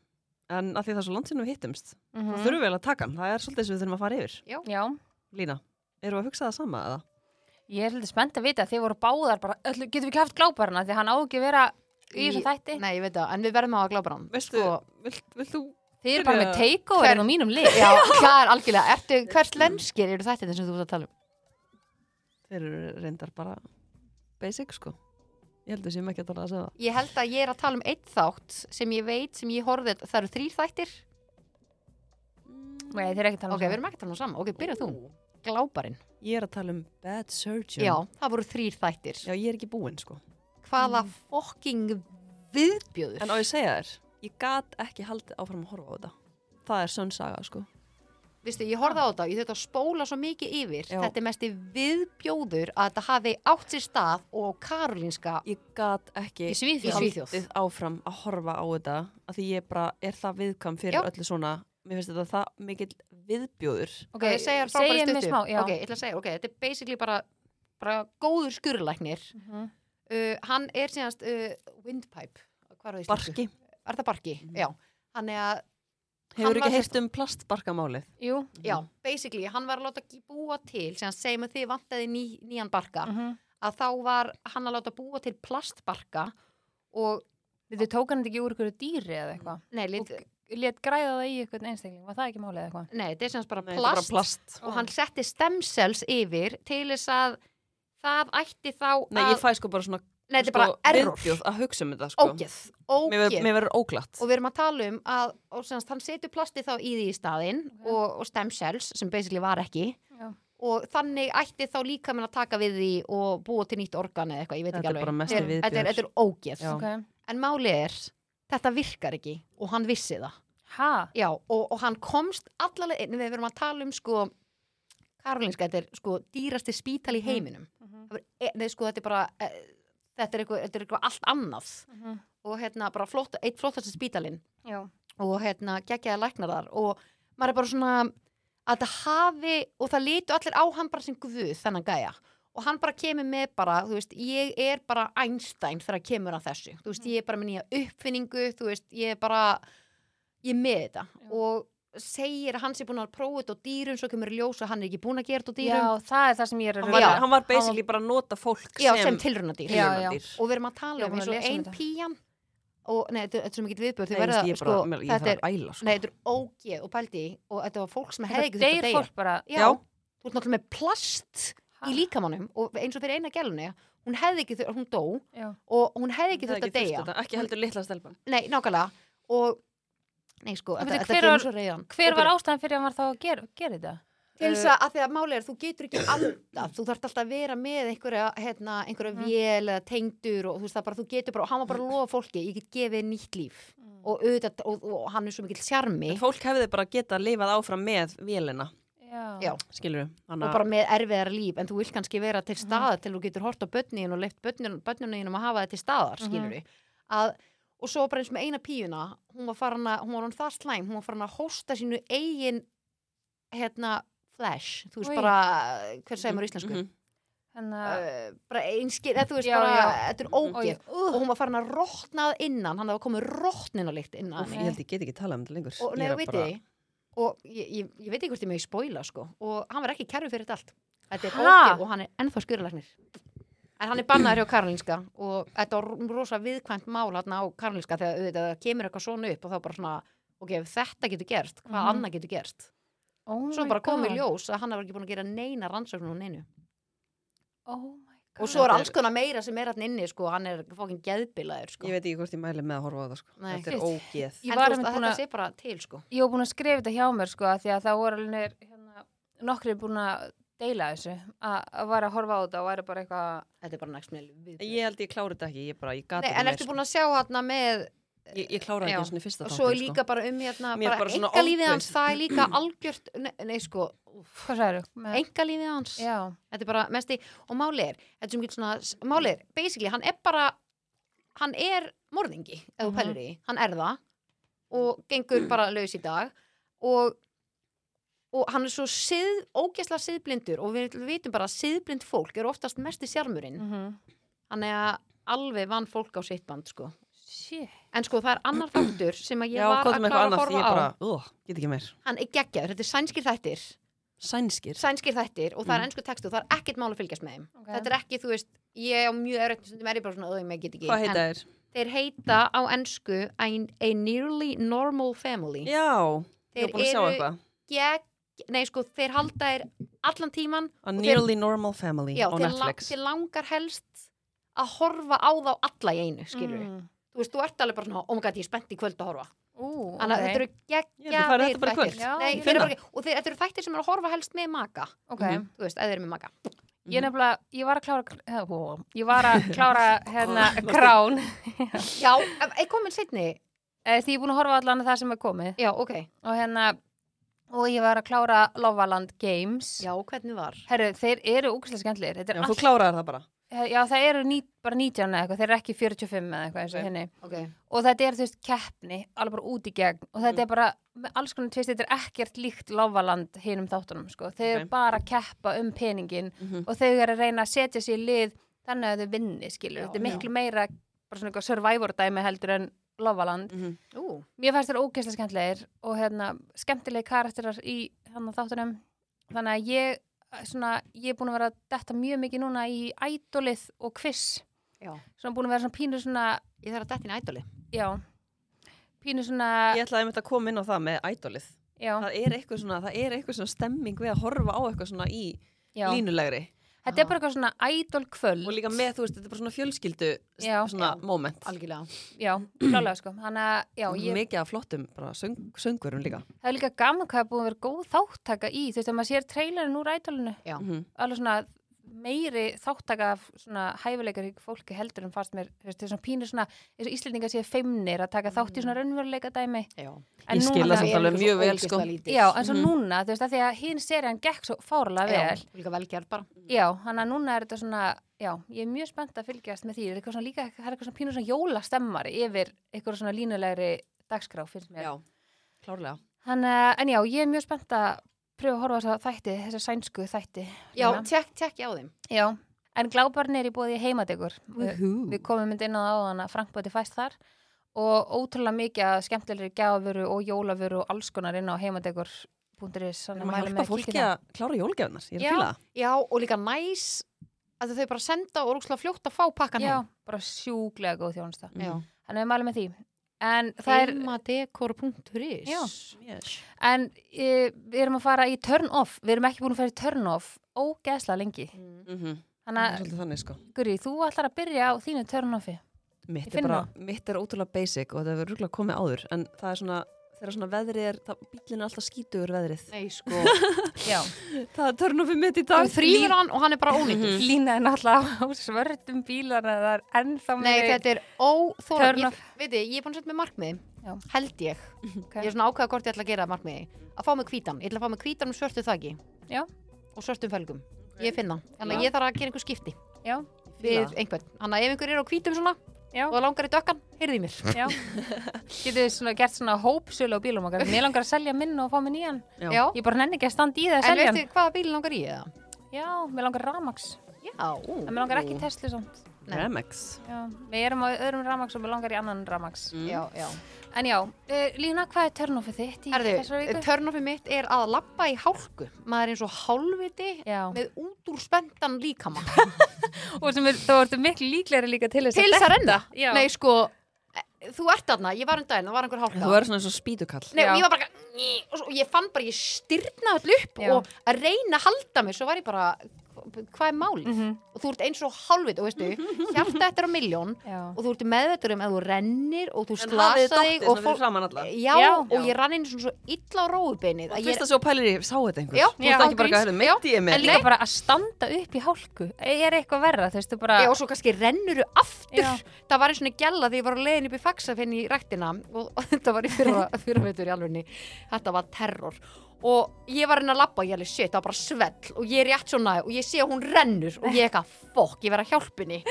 en að því það er svo langt sinni við hittumst, þá Mhm. þurfum við eiginlega að taka hann. Það er svolítið sem við þurfum að fara yfir. Já, Lína, eru að hugsa það sama eða? ég er hluti spennt að vita að þið voru báðar bara, öllu, getum við ekki haft gláparna því hann á ekki að vera í Í- þessum þætti Nei, ég veit það, en við verðum á að glápa hann sko. Veistu, vilt, vilt þú Þið eru bara Byrja- með takeover Hvern- á mínum lið *laughs* Já, það er algjörlega, ertu, hvers lenskir eru þetta sem þú ert að tala um? Þeir eru reyndar bara basic sko. Ég held við séum ekki að tala að segja það. Ég held að ég er að tala um eitt þátt sem ég veit, sem ég horfði, það eru þrýr þættir Nei, þið eru ekki að tala um Ok, við erum ekki að tala um saman, ok, byrja þú Gláparinn, Ég er að tala um bad surgeon. já, það voru þrýr þættir Já, ég er ekki búinn sko. Hvaða fokking viðbjöður En á ég að segja þér, ég gat ekki haldið áfram að horfa á þetta. Það er sönn saga sko. Vistu, ég horfði á þetta, ég þurfti að spóla svo mikið yfir Já. Þetta er mesti viðbjóður að þetta hafi átt sér stað og Karolinska Ég gat ekki Í Svíþjóð. Í Svíþjóð. haldið áfram að horfa á þetta af því ég bara er það viðkam fyrir Já. öllu svona. Mér finnst þetta það mikill viðbjóður. Ok, Ok, ég segja þér segið frábæri mér stuttu smá, já. Ok, ég ætla að segja, ok, þetta er basically bara, bara góður skurðlæknir Mhm. uh, Hann er síðanst uh, windpipe Hvað er það í Barki. Er það barki? Já, hann er að Hefur var ekki heyrt um plastbarkamálið? Jú, Já, basically, hann var að láta ekki búa til sem hann segjum að þið vantaði ný, nýjan barka Mhm. að þá var hann að láta búa til plastbarka og, þið tók hann þetta ekki úr ykkur dýri eða eitthvað nei, lit, Lét græða það í ykkur einstakling, var það ekki málið eða eitthvað? nei þetta er sem sagt bara Nei, þetta er plast, Bara plast. og hann setti stemsels yfir til þess að það ætti þá Nei, að, ég fæ sko bara svona nei þetta er sko, bara error, viðbjóð að hugsa um þetta sko. ógeð, Mér verður- ógeð Mér verður óglatt. og við erum að tala um að og semast, hann setur plasti þá í því í staðinn og, og stem cells sem basically var ekki Já. og þannig ætti þá líka að taka við því og búa til nýtt organ eða eitthvað, ég veit Þetta ekki er bara alveg mesti Þetta er- þetta er, viðbjóður. þetta er ógeð Já. Ok, en máli er, þetta virkar ekki og hann vissi það ha? Já, og, og hann komst allalega inn, við verum að tala um sko Karolinska, þetta er sko dýrasti spítal í heiminum Mhm. mm. e, Nei, sko, þetta er bara e, þetta er eitthvað, þetta er eitthvað allt annað Mhm. og hérna bara flott, eitt flottasti spítalinn Já, og hérna geggjaði læknar þar og maður er bara svona að það hafi og það litu allir á hann bara sem guð þennan gæja og hann bara kemur með bara, þú veist, ég er bara Einstein þegar kemur að þessu þú veist, ég er bara með nýja uppfinningu þú veist, ég er bara ég er með þetta Já. og segir að hann sé búin að prófa þetta á dýrum svo kemur í ljós og hann er ekki búin að gera þetta á já, dýrum það er það sem ég er að Hann var, Já. hann var basically bara að nota fólk já, sem, sem tilraunadýr Já, tilraunadýr. og við erum að Já, tala um maður eins og les um ein þetta. píjan og, nei, þetta er- þetta er sem ekki viðbjörð Nei, veist, ég, bara, mér, ég sko, þetta þarf er að æla sko. Nei, þetta er ógeð og pældi í og þetta var fólk sem hefði Þetta ekki þurft að deyr deyja. fólk bara Já. Já. Þú ert náttúrulega með plast Ha? í líkamannum og eins og fyrir eina gælunni, hún hefði ekki þurft, hún dó Já. og hún hefði ekki Það er þurft að þurft deyja. þetta, ekki heldur litla stelpan Nei, nákvæmlega. Og, nei sko, En þetta, veitu, þetta hver kemur var- svo reyðan. Hver var ástæðan fyrir að hann var þá að gera, gera þetta? Til þess að, að því að máli er, þú getur ekki andað, þú þarft alltaf að vera með einhverja, hérna, einhverja vél eða tengdur og þú veist það bara, þú getur bara, og hann var bara að lofa fólki, ég get gefið þér nýtt líf og auðvitað, og, og, hann er svo mikill sjarmi En fólk hefði bara getað lifað áfram með vélina Já. Já. skilur við Hérna- og bara með erfiðara líf en þú vilt kannski vera til staðar til þú getur hort á börnin og leift börnunum að hafa þetta til staðar, Mhm. skilur við að, og svo bara eins með eina píuna hún var farin að, hún var hann það slæm hún var farin að hósta sínu eigin hérna, flash þú veist Oj. bara, hver segir maður á íslensku mm Mhm. Þannig að, uh, bara einskir, eða þú veist Já, bara já. þetta er ógeð Oj, og hún var farin að rótna að innan hann hafa komið rótninalikt innan Úff, ég held ég get ekki talað um þetta lengur og Ég nei, er þú að veit bara- ég og ég, ég, ég veit ekki hvort ég megi spoila sko og hann var ekki kærfi fyrir þetta allt þetta er Ha? ógjöf og hann er ennþá skurðlagnir en hann er bannaður hjá Karolinska og þetta var rosa viðkvæmt mál hann á Karolinska þegar auðvitað það kemur eitthvað svona upp og þá bara svona, ok, ef þetta getur gerst hvað Mhm. annað getur gerst oh svo my bara god. komið ljós að hann var ekki búin að gera neina rannsóknum og neinu Oh my og svo er Þetta alls konar meira sem er hann inni sko, hann er fókin geðbilaður sko. Ég veit ekki hvort ég mæli með að horfa á það sko. Nei. Þetta er ógeð. Ég en var þú veist einmitt að búin þetta að- sé bara til sko. ég var búin að skrifa þetta hjá mér sko, af því að það voru alveg hérna, nokkri búin að deila þessu að, að var að horfa á þetta og væri bara eitthvað þetta er bara nægst með viðbjöð. Ég held ég klára þetta ekki, ég bara, ég gata Nei, en ertu búin að sjá hann með Sko. Ég, ég klára Já. ekki einu sinni fyrsta og þáttinn sko. svo er líka bara um hérna Mér er bara bara svona engalífið ofbauð. hans, það er líka algjört nei, nei sko, hvað sagður? engalífið hans já, þetta er bara mesti, og málið er þetta sem getur svona, málið er, basically hann er bara, hann er morðingi, ef þú Mhm. pælir í, hann er það og gengur bara laus í dag og og hann er svo sið, ógæsla siðblindur og við vitum bara að siðblind fólk eru oftast mesti sjarmurinn mm -hmm. hann er að alveg vann fólk á sitt band sko. shit en sko það er annar þáttur sem að ég Já, var hvað að er með klára eitthvað annað, að horfa ég á bara, uh, get ekki meir. hann er geggjaður, þetta er sænskir þættir Sænskir. sænskir þættir og það Mm. er ennsku textu og það er ekkert mál að fylgjast með þeim Ok. þetta er ekki, þú veist, ég á mjög erögt stundum er ég bara svona, öðum, ég get ekki Hvað heita þér? en þeir heita á ennsku a, a nearly normal family Já, ég var þeir búin að sjá eru eitthvað. gegg, nei sko, þeir halda þeir allan tíman A og þeir- Nearly Normal Family já, á þeir, la, Netflix. þeir langar helst að horfa á þá alla í einu, skilur við mm. þú veist, þú ert alveg bara svona, oh my god, ég er spennt í kvöld að horfa Ú, þannig að ok. þetta eru Ég held ég fari geggjaðir þetta bara í þættir kvöld. Já, Nei, ég þeir finna. eru bara- og þeir- þetta eru þættir sem eru að horfa helst með maka ok Mhm. þú veist, eða eru með maka ég nefnilega, ég var að klára eh, ó, ég var *laughs* að klára hérna krán Já, ég komin setni Eh, því ég er búin að horfa á allan að það sem er komið Já, ok, og hérna, og ég var að klára Lovaland Games já, hvernig var Herru, þeir eru úkslega skemmtlir Þetta Já, er allt þú kláraðir það bara. Já, það eru ní, bara 19 eða eitthvað, þeir eru ekki 45 eða eitthvað eins og Ok. henni. okay. Og þetta er þú veist keppni, alveg bara út í gegn og Mm. þetta er bara, með alls konar tvist, þetta er ekkert líkt lofaland hinum þáttunum, sko. Þeir eru Ok. bara að keppa um peningin Mhm. og þau eru að reyna að setja sér lið þannig að þau vinni, skilur. Já, þetta er miklu meira bara svona eitthvað survivor dæmi heldur en lofaland. Mhm. Ú, Mér fannst þeir ógeðslega skemmtilegir og hérna, skemmtilegi karakterar í hann þáttunum. Þannig að ég, svona, ég er búin að vera að detta mjög mikið núna í ædolið og kviss já svona búin að vera svona pínu svona Ég þarf að dættin ædoli já, pínu svona Ég ætlaði einmitt að koma inn á það með ædolið. já, Það er eitthvað svona, það er eitthvað svona stemming við að horfa á eitthvað svona í já. línulegri. þetta er bara eitthvað svona idol kvöld Og líka með, þú veist, þetta er bara svona fjölskyldu s- Já. svona Já. moment. Algjörlega já, klálega sko þannig að já, ég Mikið af flottum, bara söng, söngurum líka. það er líka gaman hvað er búin að vera góð þáttaka í þú veist að maður sér trailerin úr idolinu Já. Mhm. alveg svona meiri þáttaka af svona hæfileikar fólki heldur en fast mér þú veist, þetta er svona pínu svona eins og Íslendingar séu feimnir að taka þátt í svona raunveruleika dæmi Já en Mm. Ég skil það núna, samt alveg mjög vel, sko. já, en svo núna þú veist að því að hinn serían gekk svo fárlega vel Líka velgerð bara Já, hann að núna er þetta svona, já, ég er mjög spennt að fylgjast með því, það er eitthvað svona líka, það er eitthvað svona pínur svona jólastemmar yfir eitthvað svona línulegri dagskrá, finnst mér. Já, klárlega. Hann, eh, en já, ég er mjög spennt að pröfa að horfa á þessa þætti, þessa sænsku þætti. Já, hérna. tjekk, tjekk ég á þeim Já, en glábarn er í bóði heimadegur. Við, Hú. við komum mynd inn á það á þannig að Frank bóti fæst þar og ótrúlega mikið að skemmtilegri gjafuru og jólavuru og alls konar inn á heimadegur.is. Við erum að hjálpa fólki hérna. að klára jólgefnar. Ég er Já. að fíla það. Já, og líka næs að þau bara senda og rúkslega fljótt að fá pakkan Já, bara sjúklega góð þjónusta. heim Já Þannig að við mælum með því. En, það er, Heimadekor.is Já. Yes. en e, við erum að fara í turn off. Við erum ekki búin að fara í turn off ógeðslega lengi. Mm -hmm. Þannig að, Svolítið þannig sko. Guri, þú ætlar að byrja á þínu turn offi. Ég Mitt er, finn bara, mitt er ótrúlega basic og þetta hefur rúglega komið áður en það er svona, þegar svona veðrið er, það, bílinn er alltaf skítugur veðrið. Nei, sko Já. *laughs* *laughs* Það er Mhm. törnum við mitt í Þú þrýfur hann og hann er bara ónýttur Lína er náttúrulega á svörtum bílar en það er ennþá Nei, þetta er óþóra Turn Ég- off. Veitir, ég er búin að setja með markmið Já. Held ég Ég er svona ákveða hvort ég ætla að gera að markmiði að fá mig hvítan, ég ætla að fá mig hvítan með svörtu þaki Já. og svörtum felgum ég finn það, þannig að ég þarf að gera einhver skipti Já, við einhvern, þannig að ef einhver er á hvítum svona já, og langar í dökkan, heyrði í mér já. Getur þið svona gert svona hópsölu á bílum okkar. Mér langar að selja minn og fá mig nýjan. Já. Já. Ég bara nenni ekki að standa í það að en selja hann. veistu hvaða bíl langar í eða? Já, mér langar ramax. Já, ú, En mér langar ekki Tesla samt. Nei. Remex. Já, við erum á öðrum ramax og mér langar í annan ramax. já, já En já, uh, Lína, hvað er turn-offið þitt í Herðu, þessari viku? törnofið mitt er að lappa í hálku maður er eins og hálfviti Já. með út úr spenntan líkama og sem er, þá ertu miklu líklegri líka til þess til þess að renda Já. Nei, sko, eh, þú ert aðna, ég var um daginn, það var einhver hálka Þú er svona eins og spítukall. Nei, Já. og ég var bara eitthvað, "Ný", og svo- og ég fann bara, ég styrna öll upp Já. og að reyna að halda mig, svo var ég bara hvað er málið Mhm. og þú ert eins og hálfið og *laughs* veistu, hjarta þetta er á miljón Já. og þú ert meðveitur um að þú rennir og þú En hafið slasa dottið þig og svona fyrir framan alla. já, Já. og ég rann inn svona svo illa á rófubeinið Og að ég fyrst að svo pælir ég, sá þetta einhver Já, Þú veist já, ekki bara ángríns. að höfðu meitt ég En með líka bara að standa upp í hálku E, er eitthvað verra, þú veist, þú bara Já, og svo kannski rennuru aftur Já. það var eins og gæla því ég var á leiðin upp í faxafinn í ræktina og, og þetta var í *laughs* fyrirveitur í alvegni þetta var terror og ég var henni að labba og ég alveg shit, það var bara svell og ég er rétt svona og ég sé að hún rennur og ég eitthvað fokk, ég verð að hjálpunni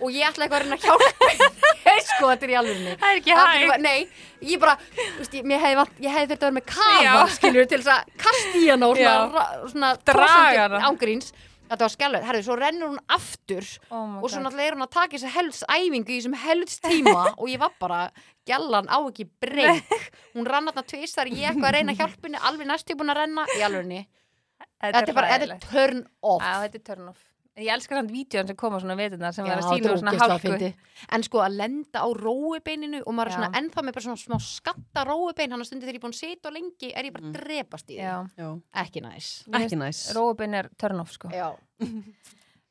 og ég ætla eitthvað að reyna að hjálpa henni *laughs* sko þetta er í alvegni Það er ekki hægt. Nei, ég bara, þú veist, ég, mér hefði, vant- ég hefði þurft að vera með kafa, Já. skilur, til þess að kasta í hana og svona, Já. ra- svona Draga tosandi hana. ángríns Þetta var skjálfur, herðu, svo rennur hún aftur Oh my og svo God. náttúrulega er hún að taka þessi helftsæfingu í þessum *laughs* helftstíma og ég var bara, gælan á ekki breyk hún rann þarna tvist þar ég eitthvað að reyna hjálpunni, alveg næstu búin að renna í alvegni, þetta er bara þetta er hræðilegt. turn off Já, þetta er turn off. Ég elskar samt vídjón sem koma svona veturna sem Já, var að þetta sína er úr svona ógeðslega hálku. fyndið. en sko að lenda á róubeininu og maður er Já. svona ennþá með bara svona smá skatta róubein hann að stundi þegar ég er búin að sita og lengi er ég bara að drepast í Mm. Já, því, Já, ekki næs ekki næs róbin er turn off sko. já,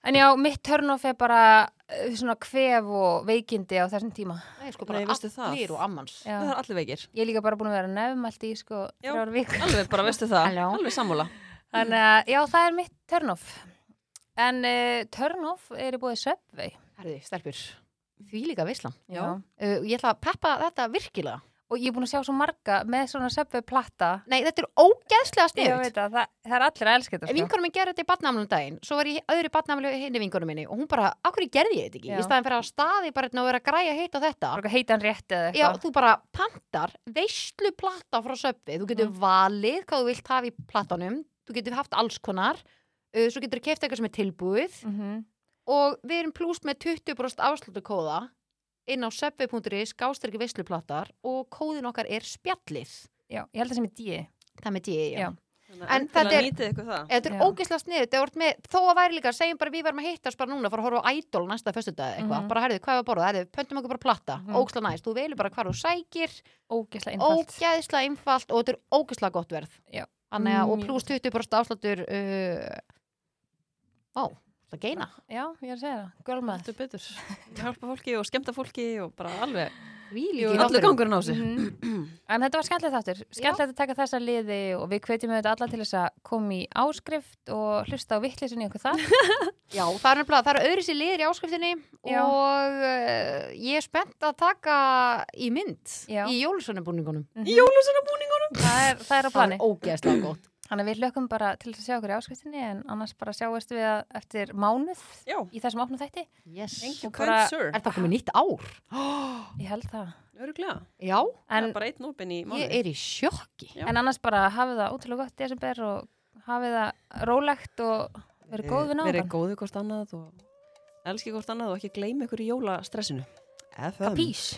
En já, mitt turn off er bara eh, svona kvef og veikindi á þessum tíma. það er sko bara Nei, veistu það? allir og ammans Já. Það er allir veikir Ég er líka bara búin að vera nefnmælt í sko Já. þrjár vikur. Alveg bara, veistu það, Halló. alveg *laughs* sammála Þannig að já, það er mitt turn off. En uh, turn off er í búið Subway. herðu, stelpur, því líka veislan Já. uh, ég ætla að peppa þetta virkilega Og ég er búin að sjá svo marga með svona Subway platta. Nei, þetta er ógeðslega Ég sniðut. veit að það, það er allir að elska þetta En sko. vinkonum minn gerði þetta í barnamlum daginn, svo var ég í öðru barnamlu hinni vinkonum minni og hún bara, akkur gerði ég þetta ekki? Já. Í staðin fyrir að staði bara hérna og vera að græja heitt á þetta. Bara eitthvað heitan rétt eða Já, eitthvað. þú bara pantar veistlu plata frá söpvi, þú Mm. getur valið hvað þú vilt hafa í platanum, þú getur haft alls konar, uh, svo getur þú keft eitthvað sem er tilbúið Mhm. og við erum pluss með 20% afslutukóða inn á söpvi.is, gástryggi veistluplatar og kóðin okkar er spjallið. Já, ég held það sem er díi. Það með ég, Já. já. Þannig En að endilega þetta er- nýtið ykkur það Eða Þetta Já. er ógeðslega sniðut, það voru með, þó að væri líka, segjum bara við verðum að hittast bara núna, fara að horfa á Idol næsta föstudag eitthvað, Mhm. bara herðu, hvað er að borða, herðu, pöntum okkur bara platta, mm Mhm. ógeðslega næst, þú velur bara hvar þú sækir, Ógeðslega einfalt. ógeðslega einfalt og þetta er ógeðslega gott verð. Já. Þannig að, og Mjög pluss 20% afsláttur, uh, ó, það geina. Já, ég er að segja það. Gölmað. Þetta er betur Hjálpa fólki og skemmta fólki og bara alveg Vílík í Allir þátturinn. gangurinn á sig *clears throat* En þetta var skemmtilegt þáttur. Skemmtilegt að taka þessa liði og við hvetjum auðvitað alla til þess að koma í áskrift og hlusta á vittlisinni okkur *laughs* þar. Já, það er nefnilega, það eru öðru sér liðir í áskriftinni Já. og uh, ég er spennt að taka í mynd Já. í jólusunabúningunum. Jólusina búningunum það, er, það er á Það er plani. ógeðslega gott. Þannig að við lökum bara til þess að sjá okkur í áskriftinni en annars bara sjáist við að- eftir mánuð Já, í þessum opnum þætti. Yes. thank you Og bara- kind sir Er það komið nýtt ár? Ég held það. Öruglega Já, Það En, er bara einn opinn í mánu ég er í sjokki. Já. en annars bara hafið það útrúlega gott í desember og hafið það rólegt og verið góð við Eh, Verið náðan. góðu hvort annað og elski hvort annað og ekki gleymi ykkur í jólastressinu FM Kapís.